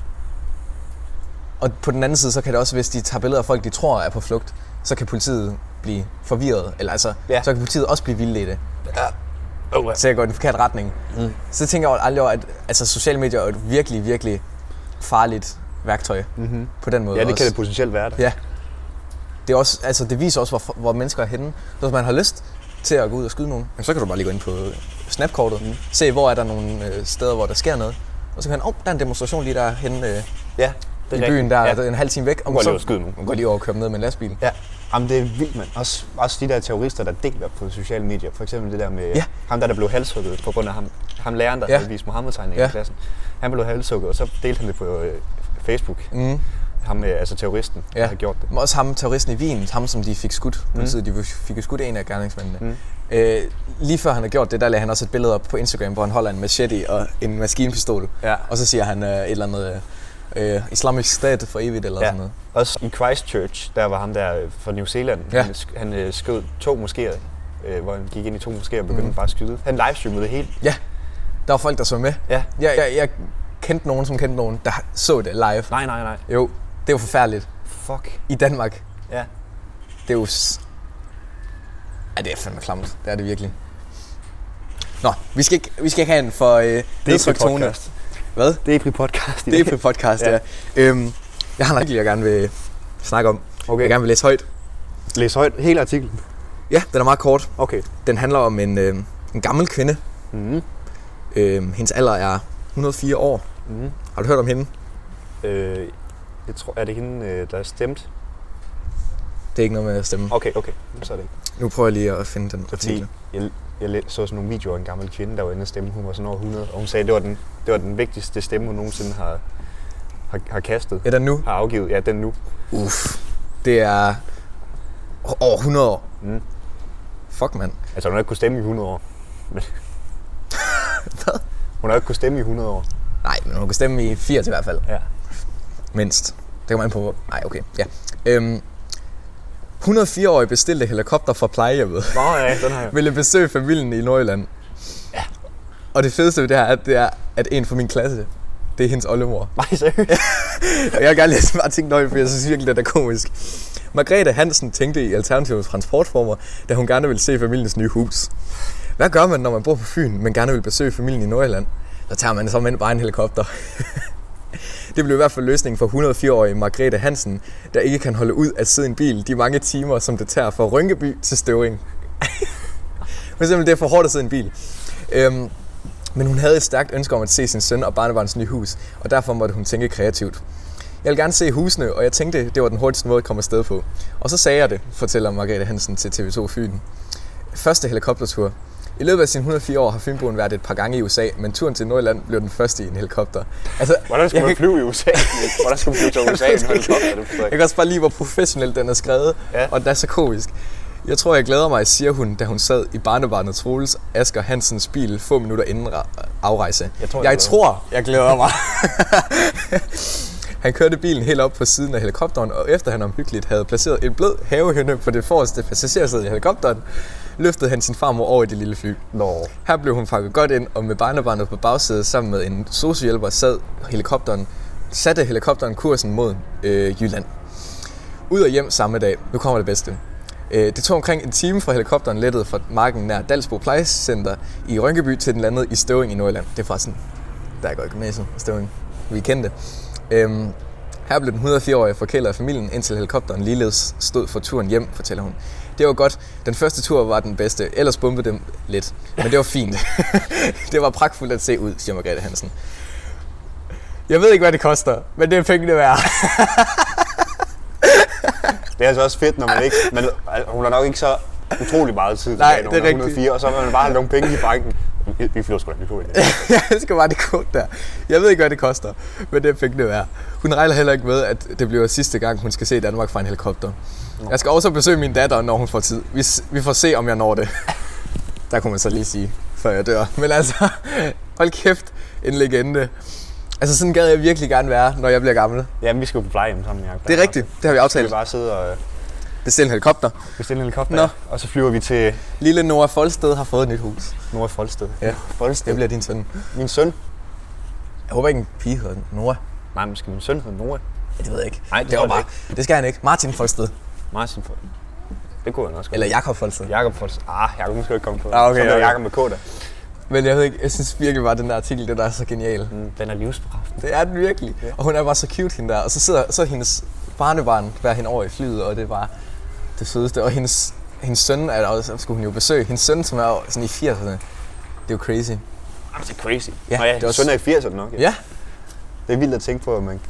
B: Og på den anden side, så kan det også, hvis de tager billeder af folk, de tror er på flugt, så kan politiet blive forvirret. Eller altså,
A: Ja.
B: ja. så kan politiet også blive vildt i det.
A: Oh, ja.
B: til at gå i den forkerte retning. Mm. Så tænker jeg aldrig over, at altså, sociale medier er jo et virkelig, virkelig farligt værktøj mm-hmm. på den måde
A: ja, det
B: også.
A: kan det potentielt være. Det.
B: Ja. Det, er også, altså, det viser også, hvor, hvor mennesker er henne. Så hvis man har lyst til at gå ud og skyde nogen, jamen, så kan du bare lige gå ind på øh, snapkortet, mm. se hvor er der nogle øh, steder, hvor der sker noget. Og så kan han, åh, oh, der er en demonstration lige der henne øh,
A: Ja,
B: i
A: rigtigt.
B: byen, der
A: ja.
B: ja. er en halv time væk.
A: går
B: Og
A: lige
B: så,
A: over og skyder nogen.
B: Man går lige over og kører dem ned med en lastbil.
A: Ja. Jamen, det er vildt, mand. Også, også de der terrorister, der deler på sociale medier. For eksempel det der med
B: Ja.
A: ham, der, der blev halshugget på grund af ham, ham læreren, der ja.
B: Ja.
A: havde vist Mohammed-tegninger ja. i
B: Ja.
A: klassen. Han blev halshugget, og så delte han det på øh, Facebook. Mm. Ham, øh, altså terroristen, ja. der har gjort det.
B: Men også ham, terroristen i Wien, ham som de fik skudt,
A: Mm.
B: politiet, de fik jo skudt en af gerningsmændene. Mm. Øh, lige før han har gjort det, der lagde han også et billede op på Instagram, hvor han holder en machete og en maskinpistol.
A: Ja.
B: Og så siger han øh, et eller andet, øh, øh, islamisk stat for evigt eller
A: Ja.
B: ja. sådan noget.
A: Også i Christchurch, der var ham der øh, fra New Zealand.
B: Ja.
A: Han, sk- han øh, skød to moskéer, øh, hvor han gik ind i to moskéer og begyndte
B: Mhm.
A: mm. bare at skyde. Han livestreamede det hele.
B: Ja, der var folk, der så med.
A: Ja.
B: Jeg, jeg, jeg kendte nogen, som kendte nogen, der så det live.
A: Nej, nej, nej.
B: Jo, det er jo forfærdeligt.
A: Fuck.
B: I Danmark,
A: Ja.
B: det er jo... S- Ej, det er fandme klamt. Det er det virkelig. Nå, vi skal ikke, vi skal ikke have en for øh, nedtrykt tone. Hvad?
A: Det er podcast i
B: Det er
A: dag.
B: på podcast, ja.
A: Ja.
B: ja. Øhm, jeg har en artikel, jeg gerne vil snakke om. Okay. Jeg
A: Okay.
B: gerne vil læse højt.
A: Læs højt hele artiklen.
B: Ja, den er meget kort.
A: Okay.
B: Den handler om en, øh, en gammel kvinde.
A: Mm.
B: Øh, hendes alder er 104 år.
A: Mm.
B: Har du hørt om hende?
A: Øh, jeg tror, er det hende, øh, der er stemt?
B: Det er ikke noget med at stemme.
A: Okay, okay. Så er det ikke.
B: Nu prøver jeg lige at finde den
A: Fordi
B: artikel.
A: jeg, jeg læ- så sådan nogle videoer af en gammel kvinde, der var inde og stemme. Hun var sådan over 100, og hun sagde, at det var den, det var den vigtigste stemme, hun nogensinde har, har, har kastet.
B: Er den nu?
A: Har afgivet. Ja, den nu.
B: Uff. Det er over 100 år.
A: Mm.
B: Fuck, mand.
A: Altså, hun har ikke kunnet stemme i 100 år. Men...
B: Hvad?
A: Hun har ikke kunnet stemme i 100 år.
B: Nej, men hun kan stemme i 80 i hvert fald.
A: Ja.
B: Mindst. Det kommer an på, hvor... Nej, okay. Ja. Øhm, 104-årig bestilte helikopter fra plejehjemmet.
A: Nå ja, den har jeg.
B: ville besøge familien i Nordjylland. Ja. Og det fedeste ved det her, at det er, at en fra min klasse, det er hendes oldemor.
A: Nej, seriøst.
B: Og jeg vil gerne læse bare ting nøje, for jeg synes virkelig, det er komisk. Margrethe Hansen tænkte i alternative transportformer, da hun gerne ville se familiens nye hus. Hvad gør man, når man bor på Fyn, men gerne vil besøge familien i Nordjylland? Så tager man så med bare en helikopter. Det blev i hvert fald løsningen for 104-årige Margrethe Hansen, der ikke kan holde ud at sidde i en bil de mange timer, som det tager fra Rynkeby til Støvring. For eksempel, det er for hårdt at sidde i en bil. Øhm, men hun havde et stærkt ønske om at se sin søn og barnebarns nye hus, og derfor måtte hun tænke kreativt. Jeg vil gerne se husene, og jeg tænkte, det var den hurtigste måde at komme afsted på. Og så sagde jeg det, fortæller Margrethe Hansen til TV2 Fyn. Første helikoptertur. I løbet af sine 104 år har Fynboen været et par gange i USA, men turen til Nordjylland blev den første i en helikopter. Altså,
A: Hvordan skulle
B: jeg
A: man flyve i USA? Hvordan skulle man flyve til USA i en helikopter? Det forstår jeg
B: jeg
A: ikke.
B: kan også bare lide, hvor professionelt den er skrevet,
A: Ja.
B: ja. og den er så komisk. Jeg tror, jeg glæder mig, siger hun, da hun sad i barnebarnet Troels Asger Hansens bil få minutter inden ra- afrejse.
A: Jeg tror, jeg
B: jeg, jeg
A: glæder
B: tror, jeg glæder mig. han kørte bilen helt op på siden af helikopteren, og efter han omhyggeligt havde placeret en blød havehønne på det forreste passagersæde i helikopteren, løftede han sin farmor over i det lille fly.
A: Nå.
B: Her blev hun pakket godt ind, og med barnebarnet på bagsædet sammen med en sociohjælper sad helikopteren, satte helikopteren kursen mod øh, Jylland. Ud og hjem samme dag. Nu kommer det bedste. Øh, det tog omkring en time fra helikopteren lettede fra marken nær Dalsbo Plejecenter i Rynkeby til den landede i Støvring i Nordjylland. Det er forresten, der går i gymnasiet i Støvring. Vi kendte. Øhm, her blev den 104-årige forkælet af familien, indtil helikopteren ligeledes stod for turen hjem, fortæller hun. Det var godt. Den første tur var den bedste, ellers bumpede dem lidt. Men det var fint. det var pragtfuldt at se ud, siger Margrethe Hansen. Jeg ved ikke, hvad det koster, men det er pengene værd.
A: Det er altså også fedt, når man ikke... Man, altså, hun har nok ikke så utrolig meget tid
B: Nej,
A: tilbage, når
B: det er
A: hun
B: rigtigt.
A: 104, og så har man bare nogle penge i banken. Vi, vi flyver sgu da, vi flyver ikke.
B: jeg elsker bare det kort der. Jeg ved ikke, hvad det koster, men det er pengene værd. Hun regner heller ikke med, at det bliver sidste gang, hun skal se Danmark fra en helikopter. Jeg skal også besøge min datter, når hun får tid. Vi, s- vi får se, om jeg når det. Der kunne man så lige sige, før jeg dør. Men altså, hold kæft, en legende. Altså, sådan gad jeg virkelig gerne være, når jeg bliver gammel.
A: Jamen, vi skal jo på plejehjem sammen, Jacob.
B: Det er rigtigt. Det har vi
A: Så skal vi
B: aftalt.
A: bare sidde og øh,
B: Bestil en helikopter.
A: bestille en helikopter,
B: Nå.
A: og så flyver vi til
B: Lille Nora Folsted har fået et nyt hus.
A: Nord Folsted.
B: Ja.
A: Folsted.
B: Det bliver din søn.
A: Min søn.
B: Jeg håber ikke, en pige hedder Nora.
A: Nej, men skal min søn hedde Nora?
B: Ja, det ved jeg ikke.
A: Nej, det
B: det, var
A: tror jeg
B: bare, det skal han ikke. Martin Folsted.
A: Martin Folsted. Det kunne han også godt.
B: Eller Jakob Folsted.
A: Jakob Folsted. Ah, Jakob, nu skal jeg ikke komme på.
B: Ah, okay,
A: så er
B: okay.
A: Jakob med K der.
B: Men jeg ved ikke, jeg synes virkelig bare, at den der artikel, den der er så genial.
A: Mm, Den er livsbekræftet.
B: Det er den virkelig. Og hun er bare så cute, hende der. Og så sidder så er hendes barnebarn bærer hende over i flyet, og det er bare det fedeste. Og hendes, hendes søn, er der også, skulle hun jo besøge. Hendes søn, som er jo sådan i 80'erne. Det er jo crazy.
A: Jamen, Ah, det er crazy.
B: Ja,
A: Nå ja,
B: det
A: det
B: er
A: er
B: også-
A: søn er i 80'erne nok.
B: Ja.
A: Det er vildt at tænke på, at man...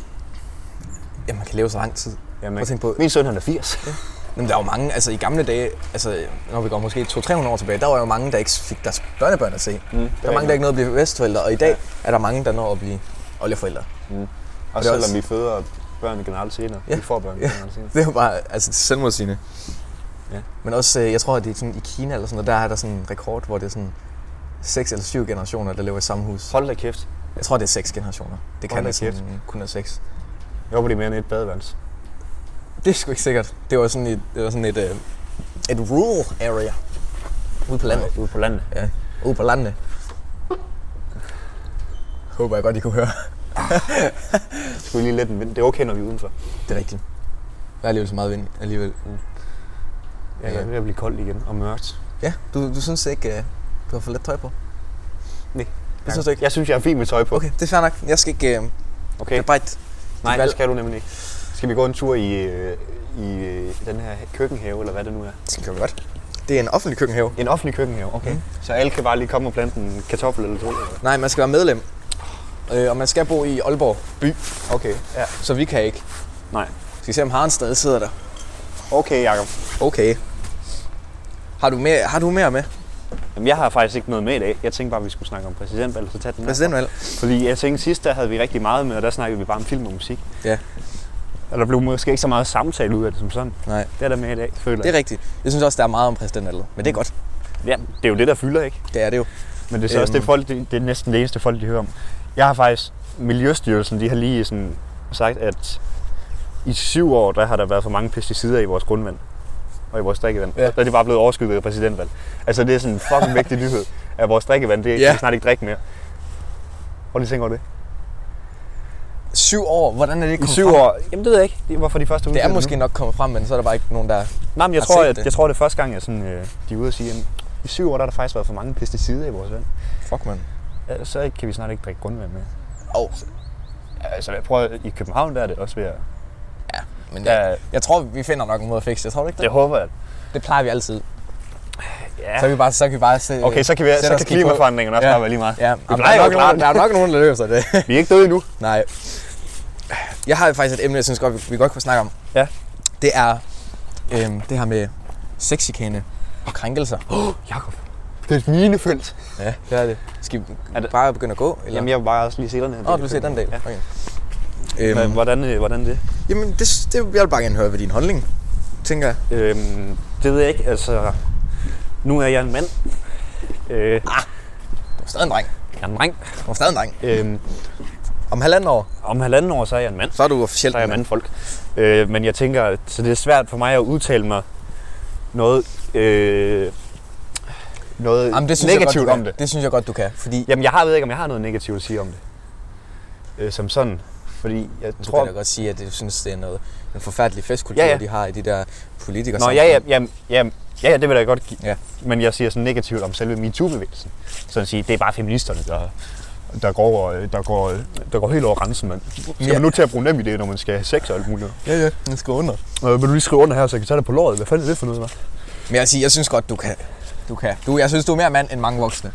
B: ja, man kan leve så lang tid.
A: Ja,
B: Prøv at
A: man
B: tænke på,
A: min søn, han er 80.
B: Jamen, der er jo mange, altså i gamle dage, altså når vi går måske 200-300 år tilbage, der var jo mange, der ikke fik deres børnebørn at se. Mm, der
A: rigtigt
B: er mange,
A: nok.
B: der ikke nåede at blive bedsteforældre, og i dag ja. er der mange, der når at blive oldeforældre.
A: Og
B: det er
A: selvom
B: også-
A: vi føder børn generelt senere.
B: Ja.
A: Vi får børn
B: Ja.
A: generelt senere.
B: Det er jo bare altså, selvmodsigende.
A: Ja.
B: Men også, øh, jeg tror, at det er sådan, i Kina eller sådan noget, der er der sådan en rekord, hvor det er sådan seks eller syv generationer, der lever i samme hus.
A: Hold da kæft.
B: Jeg tror, det er seks generationer. Det
A: Hold
B: kan
A: da
B: det sådan,
A: kæft.
B: kun være seks.
A: Jeg håber, det er mere end et badeværelse.
B: Det er sgu ikke sikkert. Det var sådan et, det var sådan et, øh, et rural area. Ude på landet.
A: Ude på landet.
B: Ja, ude på landet. Håber jeg godt, I kunne høre.
A: Det skulle lige lidt en vind. Det er okay, når vi er udenfor.
B: Det er rigtigt. Der er alligevel så meget vind alligevel.
A: Ja, ja.
B: Ja.
A: Det er ved at blive koldt igen og mørkt.
B: Ja, du, du synes ikke, øh, du har for lidt tøj på?
A: Nej.
B: Det synes du ikke?
A: Jeg synes, jeg er fint med tøj på.
B: Okay, det er fair nok. Jeg skal ikke øh,
A: okay.
B: bebrejde
A: Nej,
B: valg.
A: det skal du nemlig ikke. Skal vi gå en tur i, øh, i øh, den her køkkenhave, eller hvad det nu er?
B: Det kan vi godt. Det er en offentlig køkkenhave.
A: En offentlig køkkenhave, okay.
B: Mhm.
A: Mm. Så alle kan bare lige komme og plante en kartoffel eller to. eller-
B: Nej, man skal være medlem. Øh, og man skal bo i Aalborg by,
A: Okay, ja.
B: så vi kan ikke.
A: Nej.
B: Skal vi se, om Haren stadig sidder der.
A: Okay, Jacob.
B: Okay. Har du mere, har du mere med?
A: Jamen, jeg har faktisk ikke noget med i dag. Jeg tænkte bare, at vi skulle snakke om præsidentvalg, så tag den her.
B: Præsidentvalg?
A: Fordi jeg tænkte, sidst der havde vi rigtig meget med, og der snakkede vi bare om film og musik.
B: Ja.
A: Og der blev måske ikke så meget samtale ud af det som sådan.
B: Nej.
A: Det er der med i dag, føler
B: Det
A: jeg.
B: er rigtigt. Jeg synes også, der er meget om præsidentvalget. Men
A: Mm.
B: det er godt.
A: Ja, det er jo det, der fylder, ikke?
B: Det er det jo.
A: Men det er så også
B: Øhm.
A: det, folk, det, det er næsten det eneste folk, de hører om. Jeg har faktisk, Miljøstyrelsen, de har lige sådan sagt, at i syv år, der har der været for mange pesticider i vores grundvand og i vores drikkevand.
B: Ja.
A: Ja. Der er det bare blevet overskygget af præsidentvalg. Altså det er sådan en fucking vigtig nyhed, at vores drikkevand, det
B: Ja.
A: ja. kan vi snart ikke drikke mere. Prøv lige at tænke over det.
B: Syv år. Hvordan er det
A: I
B: kommet
A: syv
B: frem?
A: år, jamen det ved jeg ikke, det var for de første
B: Det er
A: udsendelser
B: måske nok kommet frem, men så er der bare ikke nogen, der...
A: Nej, men jeg
B: har
A: tror,
B: set
A: at,
B: det.
A: jeg tror, det er første gang, jeg sådan, øh, de er ude og sige, at i syv år, der har der faktisk været for mange pesticider i vores vand.
B: Fuck, man.
A: Ja, Så kan vi snart ikke drikke grundvand mere.
B: Åh.
A: Altså, jeg prøver, i København, der er det også ved at...
B: Men jeg,
A: Ja,
B: jeg tror, vi finder nok en måde at fikse det. Tror du ikke
A: det
B: det?
A: håber jeg.
B: Det plejer vi altid.
A: Ja.
B: Så kan vi bare, så kan vi bare se,
A: Okay, så kan, vi,
B: sætte
A: så
B: os
A: kan
B: lige på.
A: klimaforandringerne også
B: Ja.
A: bare være lige meget.
B: Ja,
A: vi
B: jamen, der,
A: plejer
B: er
A: jo
B: nok
A: at klare
B: nogen,
A: det.
B: der er nok nogen, der løser det.
A: Vi er ikke døde endnu.
B: Nej. Jeg har faktisk et emne, jeg synes godt, vi, vi godt kunne snakke om.
A: Ja.
B: Det er øhm, det her med sexchikane og krænkelser.
A: Jakob. Det er et minefelt.
B: Ja, det er det. Skal vi
A: Er det-
B: bare begynde at gå? Eller?
A: Jamen, jeg vil bare også lige se den her.
B: Nå, du ser den del.
A: Ja.
B: Okay.
A: Øhm.
B: Øhm,
A: Hvordan, øh, hvordan det?
B: jamen, det, det, jeg vil bare gerne høre ved din holdning, tænker jeg.
A: Øhm, det ved jeg ikke. Altså, nu er jeg en mand. Øh,
B: Du er stadig en dreng.
A: jeg er en dreng.
B: Du er stadig en dreng.
A: Øhm,
B: Om halvanden år,
A: om halvanden år, så er jeg en mand.
B: så er du officielt
A: så er jeg mandfolk. Øh, men jeg tænker, at- så det er svært for mig at udtale mig noget, øh, noget
B: Jamen, det synes jeg
A: negativt
B: godt, du
A: om
B: kan.
A: det.
B: Det synes jeg godt, du kan. Fordi
A: Jamen, jeg har, ved ikke, om jeg har noget negativt at sige om det. Øh, som sådan. Fordi jeg
B: du
A: tror...
B: kan da godt sige, at du synes, det er noget, en forfærdelig festkultur,
A: Ja, ja.
B: de har i de der politikere.
A: Nå, ja, ja, ja, ja, ja, ja, det vil jeg da godt give.
B: Ja.
A: Ja. Men jeg siger sådan negativt om selve MeToo-bevægelsen. Sådan at sige, det er bare feministerne, der, der, går, over, øh, der, går, øh, der går helt over grænsen, mand. Skal
B: Ja.
A: man nu til at bruge nem idé, når man skal have sex og alt muligt?
B: Ja, ja, den skal under.
A: Øh, vil du lige skrive under her, så jeg kan tage dig på låret? Hvad fanden er det for noget, hva'?
B: Men jeg, vil sige, jeg synes godt, du kan. Du kan. Du, jeg synes, du er mere mand end mange voksne.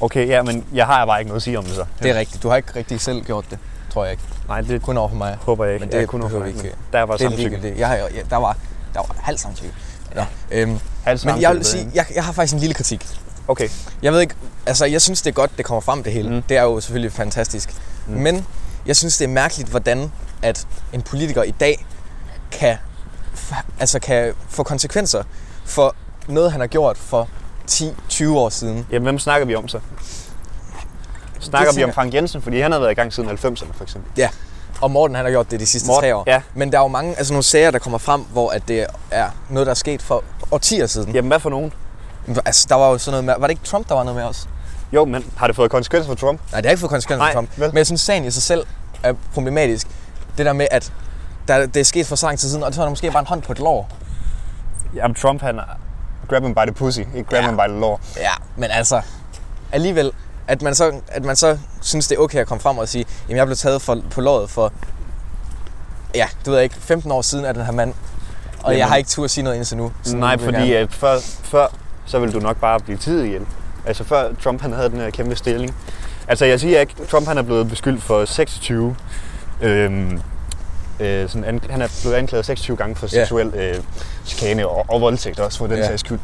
A: Okay, ja, men jeg har bare ikke noget at sige om det så.
B: Det er rigtigt. Du har ikke rigtig selv gjort det, tror jeg ikke.
A: Nej, det
B: Kun over for mig.
A: håber jeg ikke.
B: Men det
A: jeg kunne
B: behøver vi
A: overveje,
B: ikke.
A: men Der var
B: det er
A: samtykke.
B: ligegyldigt. Jeg, har, jeg, der var, der var halv samtykke. Nå, øhm,
A: Halv
B: men jeg vil sige,
A: samtykke.
B: jeg, jeg har faktisk en lille kritik.
A: Okay,
B: Jeg ved ikke, altså jeg synes, det er godt, det kommer frem det hele. Mm.
A: Mm.
B: Det er jo selvfølgelig fantastisk. Mm. Men jeg synes, det er mærkeligt, hvordan at en politiker i dag kan, f- altså, kan få konsekvenser for noget, han har gjort for 10-20 år siden.
A: jamen hvem snakker vi om så? Snakker vi
B: tænker-
A: om Frank Jensen, fordi han har været i gang siden 90'erne for eksempel.
B: Ja, og Morten han har gjort det de sidste
A: Morten,
B: tre år.
A: ja.
B: Men der er jo mange altså nogle sager, der kommer frem, hvor at det er noget, der er sket for årtier siden.
A: Jamen hvad for nogen?
B: Altså, der var jo sådan noget med, var det ikke Trump, der var noget med os?
A: Jo, men har det fået konsekvenser for Trump?
B: Nej, det har ikke fået konsekvenser
A: Nej,
B: for Trump.
A: vel?
B: Men jeg synes, sagen i sig selv er problematisk. Det der med, at der, det er sket for så lang tid siden, og så er der måske bare en hånd på et lår.
A: Jamen Trump han grab him by the pussy, ikke grab
B: Ja.
A: him by the law.
B: Ja, men altså, alligevel, at man så, at man så synes, det er okay at komme frem og sige, jamen jeg blev taget for, på låret for, ja, det ved jeg ikke, 15 år siden af den her mand. Og jamen. jeg
A: Jamen.
B: har ikke tur at sige noget indtil nu. Sådan
A: Nej,
B: vil jeg
A: fordi
B: gerne-
A: at før, før, så ville du nok bare blive tid ihjel. Altså før Trump han havde den her kæmpe stilling. Altså jeg siger ikke, Trump han er blevet beskyldt for 26... Øhm, øh, sådan an, han er blevet anklaget 26 gange for
B: Ja.
A: seksuel øh, chikane og, og voldtægt også for den
B: Ja.
A: ja. sags skyld.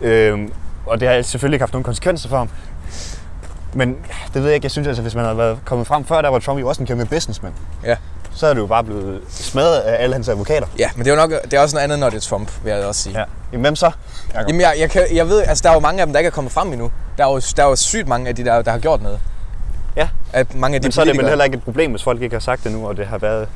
A: Øhm, og det har selvfølgelig ikke haft nogen konsekvenser for ham. Men det ved jeg ikke, jeg synes altså, hvis man havde været kommet frem før, der var Trump jo også en kæmpe businessman.
B: Ja.
A: Så er det jo bare blevet smadret af alle hans advokater.
B: Ja, men det er jo nok, det er også noget andet, når det er Trump, vil jeg også sige.
A: Ja. Jamen, hvem så? Jakob?
B: Jamen, jeg, jeg, kan, jeg ved, altså der er jo mange af dem, der ikke er kommet frem endnu. Der er jo, der er jo sygt mange af de der, der har gjort noget.
A: Ja.
B: At mange af de
A: Men så er det vel
B: politikere-
A: heller ikke et problem, hvis folk ikke har sagt det nu, og det har været...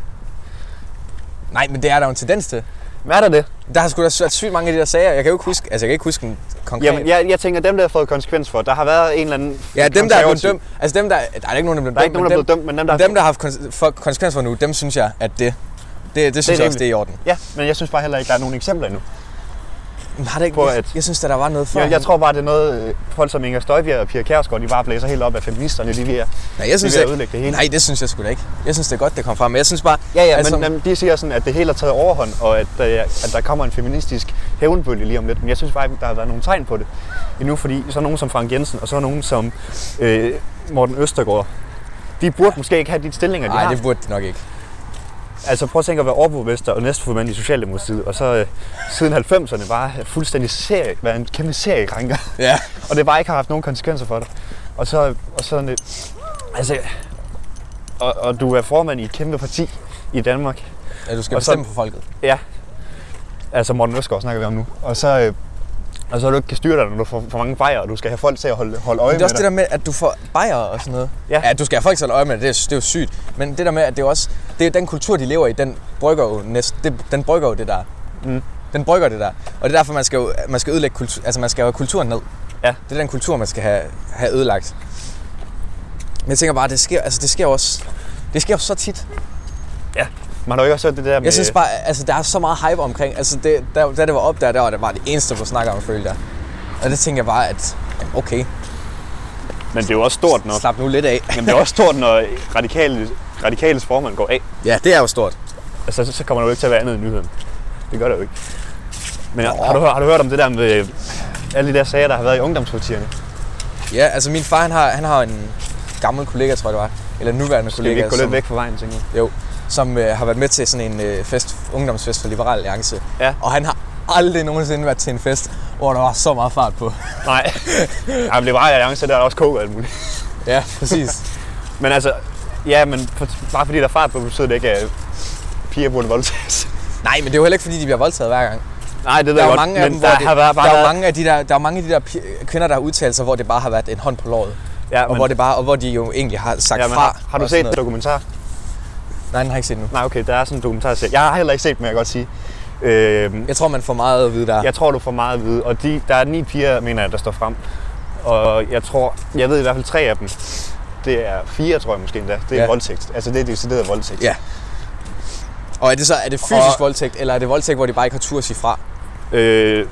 B: Nej, men det er der jo en tendens til.
A: Hvad er der det?
B: Der har sgu da været sygt mange af de der sager. Jeg kan jo ikke huske, altså jeg kan ikke huske en konkret.
A: Jamen, jeg, jeg tænker, dem der har fået konsekvens for, der har været en eller anden...
B: ja, dem der er blevet
A: konservativ-
B: dømt. Altså dem der, der er ikke nogen, der er blevet dømt.
A: Der er ikke nogen, der er
B: men
A: blevet dømt, men dem, der
B: dem, dem, der har haft kon- for konsekvenser for nu, dem synes jeg, at det, det, det synes det jeg også,
A: rimeligt.
B: det er i orden.
A: Ja, men jeg synes bare heller ikke, der er nogen eksempler endnu.
B: Men har det ikke,
A: På
B: jeg,
A: at-
B: jeg synes, at der var noget før.
A: Jeg, jeg tror bare, det er noget, øh, folk som Inger Støjbjerg og Pia Kærsgaard, de bare blæser helt op af feministerne, de er
B: nej, jeg synes,
A: ved at
B: ikke-
A: ødelægge det hele.
B: Nej, det synes jeg sgu da ikke. Jeg synes, det er godt, det kom frem. Men jeg synes bare...
A: Ja, ja,
B: altså,
A: men jamen, de siger sådan, at det hele er taget overhånd, og at, øh, at der kommer en feministisk hævnbølge lige om lidt. Men jeg synes bare ikke, der har været nogen tegn på det endnu, fordi så er nogen som Frank Jensen, og så er nogen som øh, Morten Østergaard. De burde måske ikke have de stillinger, de
B: Nej,
A: har.
B: det burde det nok ikke.
A: Altså prøv at tænke at være overborgmester og næstformand i Socialdemokratiet, og så øh, siden 90'erne bare fuldstændig serie, være en kæmpe seriekrænker,
B: Ja.
A: og det bare ikke har haft nogen konsekvenser for dig. Og så, og sådan, øh, altså, og, og du er formand i et kæmpe parti i Danmark,
B: ja du skal
A: Og så-
B: bestemme for folket.
A: altså Morten Øsgaard snakker vi om nu, og så, øh, og så du ikke kan styre dig, når du får for mange fejre, og du skal have folk til at holde, holde øje
B: Men det er også
A: med
B: det der med, at du får bajer og sådan noget.
A: Ja.
B: ja du skal have folk til at holde øje med det, det er, det er jo sygt. Men det der med, at det er også... Det er den kultur, de lever i, den brygger jo, næst, det, den brygger jo det der.
A: Mm.
B: Den brygger det der. Og det er derfor, man skal, jo, man skal ødelægge kultur, altså man skal jo have kulturen ned.
A: Ja.
B: Det er den kultur, man skal have, have ødelagt. Men jeg tænker bare, det sker, altså det sker jo også... Det sker jo så tit.
A: Man har jo ikke også hørt det der med...
B: Jeg synes bare, altså der er så meget hype omkring. Altså det, der, da det var op der, der var det bare det eneste, du snakker om, følte jeg. Og det tænker jeg bare, at jamen, okay,
A: men det er jo også stort, når,
B: slap nu lidt af.
A: men det er også stort, når radikale, radikales formand går af.
B: Ja, det er jo stort.
A: Altså, så, så kommer der jo ikke til at være andet i nyheden. Det gør der jo ikke. Men
B: Nå.
A: har du, hørt- har du hørt om det der med øh, alle de der sager, der har været i ungdomspartierne?
B: Ja, altså min far, han har, han har en gammel kollega, tror jeg det var. Eller en nuværende
A: Skal vi
B: kollega,
A: ikke gå
B: som,
A: lidt væk fra vejen, tænker jeg?
B: Jo, som øh, har været med til sådan en øh, fest, ungdomsfest for Liberal Alliance.
A: Ja.
B: Og han har aldrig nogensinde været til en fest, hvor der var så meget fart på.
A: Nej. Jamen, Liberale Alliance, der er der også kog og alt muligt.
B: Ja, præcis.
A: Men altså, ja, men for, bare fordi der er fart på, betyder det ikke, at piger burde voldtages.
B: Nej, men det er jo heller ikke, fordi de bliver voldtaget hver gang.
A: Nej, det ved
B: Der
A: jeg
B: er jo
A: godt,
B: mange
A: men
B: af dem,
A: der
B: hvor det,
A: har været, bare
B: der er jo
A: været-
B: mange af de der, der er mange af de der pi- kvinder, der har udtalt sig, hvor det bare har været en hånd på låret.
A: ja,
B: Og hvor, det bare, og hvor de jo egentlig har sagt
A: ja, men,
B: fra.
A: har, har, du
B: og sådan
A: set
B: noget.
A: den dokumentar?
B: Nej, den har jeg ikke set nu.
A: Nej, okay, der er sådan en dokumentarserie. Jeg har heller ikke set den, vil jeg godt sige. Øh,
B: Jeg tror, man får meget at vide der.
A: Jeg tror, du får meget at vide. Og de, der er ni piger, mener jeg, der står frem. Og jeg tror, jeg ved i hvert fald tre af dem. Det er fire, tror jeg måske endda. Det er
B: Ja.
A: ja. voldtægt. Altså det er decideret voldtægt.
B: Ja. Og er det så er det fysisk
A: Og-
B: voldtægt, eller er det voldtægt, hvor de bare ikke har tur at sige fra?
A: Øh,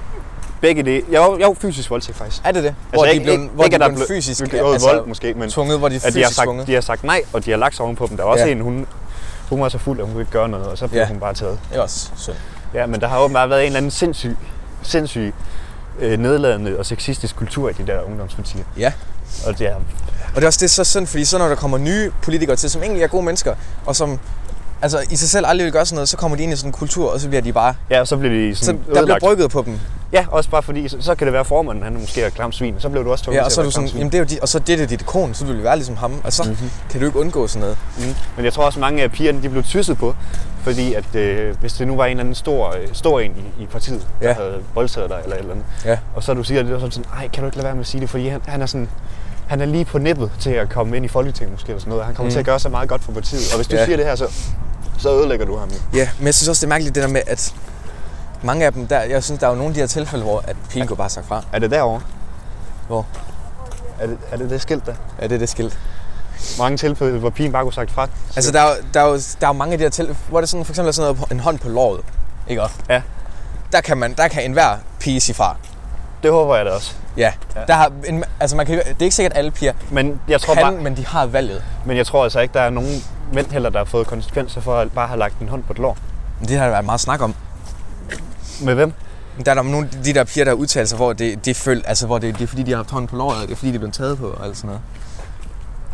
A: begge det. Jeg var, jeg var fysisk voldtægt faktisk.
B: Er det det? hvor de er
A: Altså, ikke-
B: blevet,
A: ikke-
B: hvor
A: ikke,
B: de
A: at der
B: er blevet
A: blev-
B: fysisk
A: Det er altså, vold måske, men
B: tvunget, hvor de er
A: at
B: fysisk
A: de har, sagt,
B: tvunget.
A: de har sagt nej, og de har lagt sig ovenpå dem. Der var også
B: Ja.
A: ja. en, hun, hun var så fuld, at hun kunne ikke gøre noget, og så blev
B: Ja.
A: ja. hun bare taget.
B: Det er også synd.
A: Ja, men der har åbenbart været en eller anden sindssyg, sindssyg øh, nedladende og sexistisk kultur i de der ungdomspartier.
B: Ja.
A: Og det er,
B: Og det er også det er så synd, fordi så når der kommer nye politikere til, som egentlig er gode mennesker, og som altså, i sig selv aldrig vil gøre sådan noget, så kommer de ind i sådan en kultur, og så bliver de bare...
A: ja, så bliver de
B: Så
A: sådan
B: der bliver
A: ødelagt.
B: brygget på dem.
A: Ja, også bare fordi, så, så kan det være formanden, han måske er klam svin, så blev du også tvunget
B: Ja, og
A: til
B: så
A: at
B: er du
A: være
B: sådan,
A: klam svin.
B: jamen det er jo dit, og så det er det dit ikon, så vil du være ligesom ham, og så
A: Mhm.
B: mm-hmm. kan du ikke undgå sådan noget.
A: Mm. Men jeg tror også, mange af pigerne, de blev tysset på, fordi at øh, hvis det nu var en eller anden stor, øh, stor en i, i partiet, ja.
B: Ja.
A: der havde voldtaget dig eller et eller andet,
B: Ja.
A: og så du siger det, og sådan sådan, ej, kan du ikke lade være med at sige det, fordi han, han er sådan, han er lige på nippet til at komme ind i Folketinget måske, eller sådan noget. og Han kommer mm. til at gøre så meget godt for partiet, og hvis du
B: Ja.
A: ja. siger det her, så, så ødelægger du ham. jo.
B: Ja, men jeg synes også, det er mærkeligt det der med, at mange af dem, der, jeg synes, der er jo nogle af de her tilfælde, hvor at pigen går bare sagt fra.
A: Er det derovre?
B: Hvor?
A: Er det, er det det skilt der?
B: Ja, det er det skilt.
A: Mange tilfælde, hvor pigen bare kunne sagt fra.
B: Altså, der er, jo- der, er jo, der er jo mange af de her til, hvor det sådan, for eksempel er sådan noget, på- en hånd på låret, ikke også?
A: Ja.
B: Der kan, man, der kan enhver pige sige fra.
A: Det håber jeg da også.
B: Ja.
A: Ja.
B: Der har en, altså man kan, det er ikke sikkert, at alle piger
A: Men jeg tror
B: kan,
A: bare,
B: men de har valget.
A: Men jeg tror altså ikke, der er nogen mænd heller, der har fået konsekvenser for at bare have lagt en hånd på et lår.
B: Men Det har der været meget snak om.
A: Med hvem?
B: Der er der nogle af de der piger, der udtaler sig, hvor det, det, føl, altså, hvor det, det er fordi, de har haft hånden på låret, og det er fordi, de er blevet taget på, og alt sådan noget.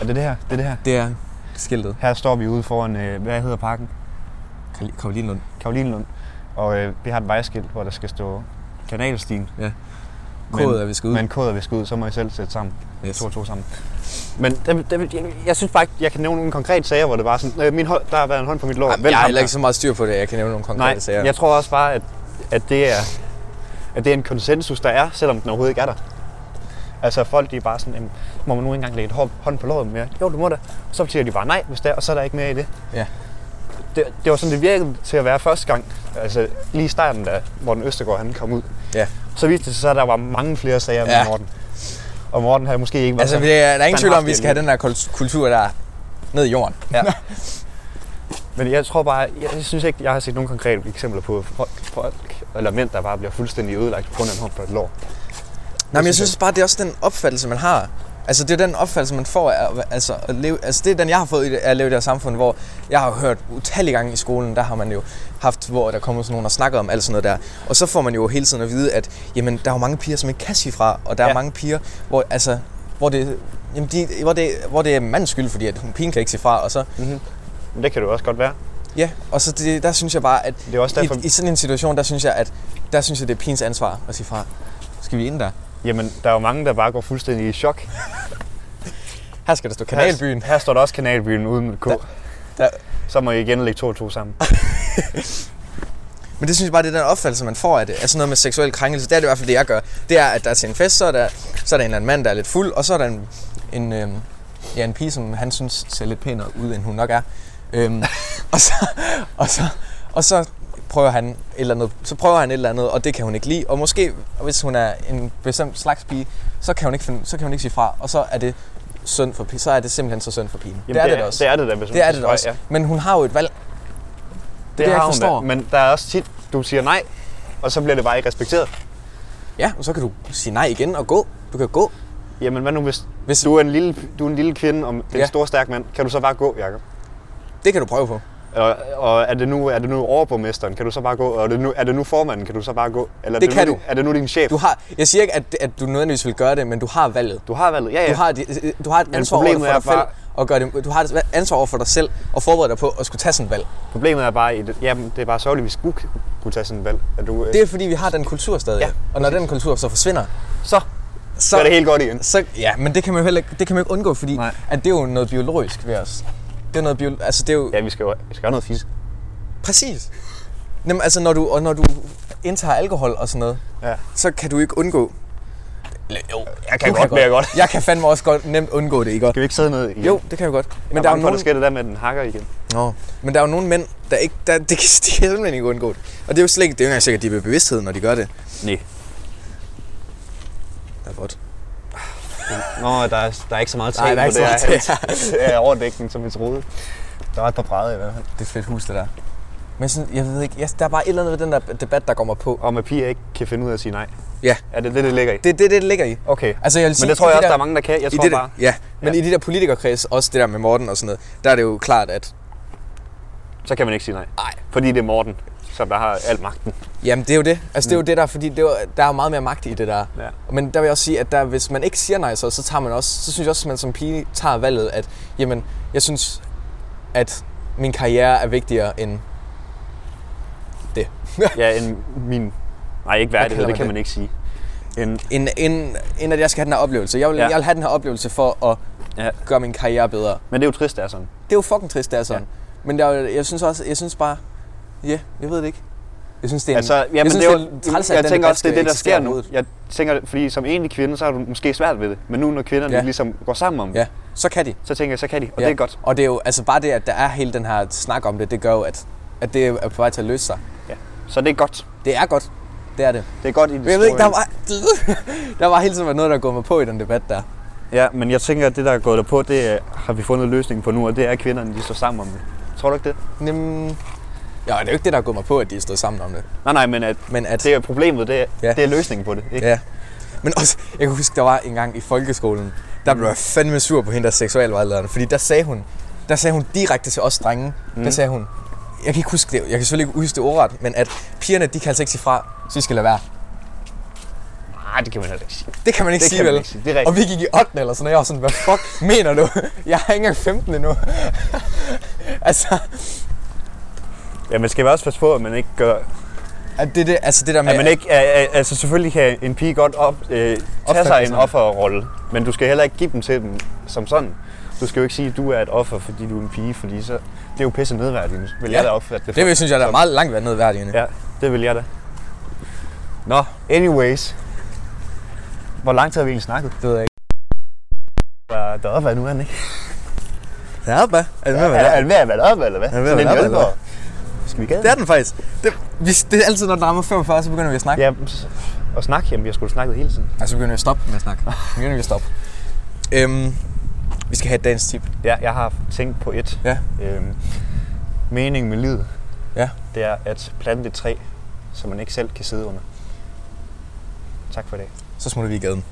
A: Er det det her? Det er det her.
B: Det er skiltet.
A: Her står vi ude foran, øh, hvad hedder parken?
B: Karl- Karoline Lund.
A: Karolinlund. Og øh, vi har et vejskilt, hvor der skal stå kanalstien.
B: Ja.
A: Men-
B: Kodet er, vi skal ud.
A: Men koder vi skal ud, så må I selv sætte sammen.
B: yes.
A: To og to sammen. Men dem, dem, jeg, jeg, synes bare ikke, jeg kan nævne nogle konkrete sager, hvor det bare sådan, øh, min hånd, der har været en hånd på mit lår.
B: Jamen,
A: Hvem
B: jeg har
A: ham
B: heller
A: der?
B: ikke så meget styr på det, jeg kan nævne nogle konkrete
A: Nej,
B: sager.
A: jeg tror også bare, at, at, det er, at det er en konsensus, der er, selvom den overhovedet ikke er der. Altså folk de er bare sådan, "Jamen, må man nu ikke engang lægge et hår- hånd på låret mere? Jo, du må da. Og så betyder de bare nej, hvis det er, og så er der ikke mere i det.
B: Ja.
A: Det, det var sådan, det virkede til at være første gang. Altså lige i starten, da Morten Østergaard han kom ud.
B: Ja.
A: Så viste det sig, at der var mange flere sager ja.
B: Ja.
A: med Morten. Og Morten havde måske ikke været
B: Altså,
A: så-
B: det er, der er ingen tvivl om, at vi
A: standhaftig
B: skal have den der kul- kultur, der er ned i jorden.
A: Men jeg tror bare, jeg synes ikke, jeg har set nogen konkrete eksempler på folk, folk eller mænd, der bare bliver fuldstændig ødelagt på grund af en hånd på et lår.
B: Nej, men jeg
A: synes
B: synes bare, det er også den opfattelse, man har. Altså, det er den opfattelse, man får af, at- altså, at leve, altså, det er den, jeg har fået i det- af at leve i det her samfund, hvor jeg har hørt utallige gange i skolen, der har man jo haft, hvor der kommer sådan nogen og snakker om alt sådan noget der. Og så får man jo hele tiden at vide, at jamen, der er jo mange piger, som ikke kan sige fra, og der ja.
A: Ja.
B: er mange piger, hvor, altså, hvor, det, jamen, de, hvor, det, hvor det er mandens skyld, fordi at hun pigen kan ikke sige fra, og så,
A: Mm-hmm. Men det kan det jo også godt være.
B: ja, og så det, der synes jeg bare, at
A: Det er også Altså, derfor,
B: i, i, sådan en situation, der synes jeg, at der synes jeg, det er pigens ansvar at sige fra. Skal vi ind der?
A: jamen, der er jo mange, der bare går fuldstændig i chok.
B: Her skal der stå kanalbyen.
A: Her, her står der også Kanalbyen uden med K.
B: Der- der-
A: Så må I igen lægge to og to sammen.
B: Men det synes jeg bare, det er den opfattelse, man får af det. Altså noget med seksuel krænkelse, det er det i hvert fald det, jeg gør. Det er, at der er til en fest, så er der, så er der en eller anden mand, der er lidt fuld, og så er der en, en, øhm, ja, en pige, som han synes ser lidt pænere ud, end hun nok er. Øhm, og, så, og, så, og så prøver han et eller andet, så prøver han et eller andet, og det kan hun ikke lide. Og måske, hvis hun er en bestemt slags pige, så kan hun ikke, finde, så kan hun ikke sige fra, og så er det synd for pigen. Så er det simpelthen så synd for pigen. Jamen, det er det, da også.
A: Det er det da, hvis hun
B: Det er det
A: siger
B: da
A: nej,
B: også.
A: Ja.
B: Men hun har jo et valg.
A: Det,
B: jeg
A: det
B: ikke
A: har hun da,
B: forstår.
A: men der er også tit, du siger nej, og så bliver det bare ikke respekteret.
B: Ja, og så kan du sige nej igen og gå. Du kan gå.
A: Jamen, hvad nu hvis,
B: Hvis-
A: du, er en lille, du er en lille kvinde, og det er
B: Ja.
A: en stor, stærk mand, kan du så bare gå, Jacob?
B: Det kan du prøve på.
A: Og, og er, det nu, er det nu overborgmesteren, kan du så bare gå? Og er det nu, er det nu formanden, kan du så bare gå? Eller er
B: Det
A: nu
B: kan
A: din-
B: du.
A: Er det nu din chef?
B: Du
A: Du,
B: har, jeg siger ikke, at, at du nødvendigvis vil gøre det, men du har valget.
A: du har valget. Ja, ja.
B: Du har, et- du har et ansvar over
A: problemet
B: for
A: er
B: dig selv.
A: bare-
B: Og gør det, du har et ansvar over for dig selv og forberede dig på at skulle tage sådan et valg.
A: Problemet er bare, at jamen, det er bare sørgeligt, hvis du kunne tage sådan en valg. At du, øh,
B: Det er fordi, vi har den kultur stadig.
A: Ja,
B: og når den kultur så forsvinder,
A: så
B: så,
A: gør det helt godt igen.
B: så ja, men det kan man jo heller ikke, det kan man jo ikke undgå, fordi
A: Nej.
B: at det er jo noget biologisk ved os. Det er noget bio, altså det er jo
A: Ja, vi skal jo vi skal have noget fisk.
B: præcis. Jamen, altså når du, og når du indtager alkohol og sådan noget,
A: Ja.
B: så kan du ikke undgå. Eller, jo,
A: Jeg kan
B: du
A: godt, men jeg godt.
B: Jeg kan fandme også godt nemt undgå det, ikke?
A: Skal vi ikke sidde ned igen?
B: Jo, det kan jeg godt.
A: men der er jo nogen... der sker det der med, at den hakker igen.
B: Nå, men der er jo nogle mænd, der ikke, der, det, kan, de kan simpelthen ikke undgå det. Og det er jo slet ikke, det er jo ikke engang sikkert, at de er ved bevidsthed, når de gør det.
A: Nej.
B: Det er godt.
A: Nå, der er, der er ikke så meget
B: Nej, der er ikke så meget
A: det er overdækning, som vi troede. Der var et par brædder i hvert fald.
B: Det er et fedt hus, det der. Men sådan, jeg ved ikke, jeg, der er bare et eller andet ved den der debat, der kommer på.
A: Om at piger ikke kan finde ud af at sige nej.
B: Ja.
A: Er det det, det ligger i?
B: Det er det, det ligger i.
A: Okay.
B: Altså, jeg vil sige,
A: Men det tror
B: i
A: jeg
B: de
A: også,
B: der-
A: der er mange, der kan. Jeg
B: I
A: tror
B: det, der-
A: bare,
B: Ja, men i de der politikerkreds, også det der med Morten og sådan noget, der er det jo klart, at
A: så kan man ikke sige nej.
B: nej,
A: Fordi det er Morten, som der har al magten.
B: Jamen det er jo det. Altså det er jo det der, fordi det er, jo- der er jo meget mere magt i det der.
A: Mm. Ja.
B: Men der vil jeg også sige, at der, hvis man ikke siger nej, så, så tager man også, så synes jeg også, at man som pige tager valget, at jamen, jeg synes, at min karriere er vigtigere end det.
A: Ja, en, min... Nej, ikke
B: kalder
A: værdighed, det
B: man
A: kan
B: det?
A: man ikke sige. En,
B: end, end, end at jeg skal have den her oplevelse. Jeg vil,
A: Ja.
B: ja. jeg vil have den her oplevelse for at
A: ja.
B: gøre min karriere bedre.
A: Men det er jo trist, det er sådan.
B: Det er jo fucking trist, det er sådan. Ja. Men der, er jo- jeg synes også, jeg synes bare, ja, yeah, jeg ved det ikke. Jeg synes, det er en,
A: Altså, jamen,
B: jeg synes,
A: det er
B: en
A: jo,
B: træls, at
A: jeg
B: den
A: tænker
B: debat
A: også, det er
B: skal
A: det, der
B: eksistere
A: sker nu.
B: overhovedet.
A: Jeg tænker, fordi som enlig kvinde, så har du måske svært ved det. Men nu, når kvinderne
B: Ja.
A: ja. ligesom går sammen om det,
B: Ja, så kan de.
A: så tænker jeg, så kan de. Og ja. det er godt.
B: Og det er jo, altså bare det, at der er hele den her snak om det, det gør jo, at, at det er på vej til at løse sig.
A: Ja. Så det er godt.
B: Det er godt. Det er det.
A: Det er godt i det
B: Men jeg ved ikke,
A: store
B: der var, der var hele tiden været noget, der går mig på i den debat der.
A: Ja, men jeg tænker, at det, der er gået derpå, det er, har vi fundet løsningen på nu, og det er, at kvinderne de står sammen om det. Tror du ikke det?
B: Nem... Ja, det er jo ikke det, der går mig på, at de stod sammen om det.
A: Nej, nej, men at
B: Men at...
A: det er problemet, det er,
B: Ja.
A: ja. det er løsningen på det. Ikke?
B: Ja. Men også, jeg kan huske, der var en gang i folkeskolen, der blev jeg fandme sur på hende, der seksualvejlederen, fordi der sagde hun, der sagde hun direkte til os drenge, mm. der sagde hun, jeg kan ikke huske det, jeg kan selvfølgelig ikke huske det ordret, men at pigerne, de kan altså ikke sige fra, så I skal lade være.
A: Nej, Ah, det kan man heller ikke sige.
B: Det kan man ikke
A: Det
B: sige,
A: kan man
B: vel?
A: ikke sige. Det er rigtigt.
B: Og vi gik i 8. eller sådan, og jeg var sådan, hvad fuck mener du? Jeg er ikke engang 15 endnu. altså,
A: Ja, men skal vi også passe på, at man ikke gør...
B: at det, det, altså det der med...
A: At man ikke... øh, øh, Altså, selvfølgelig kan en pige godt op, øh, tage sig en
B: Opfattelserne.
A: offerrolle, men du skal heller ikke give dem til dem som sådan. Du skal jo ikke sige, at du er et offer, fordi du er en pige, fordi så... Det er jo pisse nedværdigende, vil
B: Ja.
A: jeg da opfatte det.
B: Det vil, synes jeg, der er meget langt været nedværdigende.
A: Ja, det vil jeg da. Nå, anyways. Hvor lang tid har vi egentlig snakket?
B: Det ved jeg ikke.
A: Hvad- Der er op, hvad nu er den, ikke?
B: Ja, hvad? Er det med,
A: Er, er den ved at være op, eller hvad?
B: Er den ved at
A: Sådan
B: være
A: en
B: deroppe, eller
A: hjælper. Skal vi gade?
B: Det er den faktisk. Det, vi, det er altid, når den rammer 45, så begynder vi at snakke.
A: Ja, og snak, jamen vi har sgu da snakket hele tiden.
B: Og så begynder vi at stoppe med at snakke. Så begynder vi at stoppe. Øhm, vi skal have et dagens tip.
A: Ja, jeg har tænkt på et.
B: Ja.
A: Øhm, meningen med livet,
B: Ja.
A: det er at plante et træ, som man ikke selv kan sidde under. Tak for det.
B: Så smutter vi i gaden.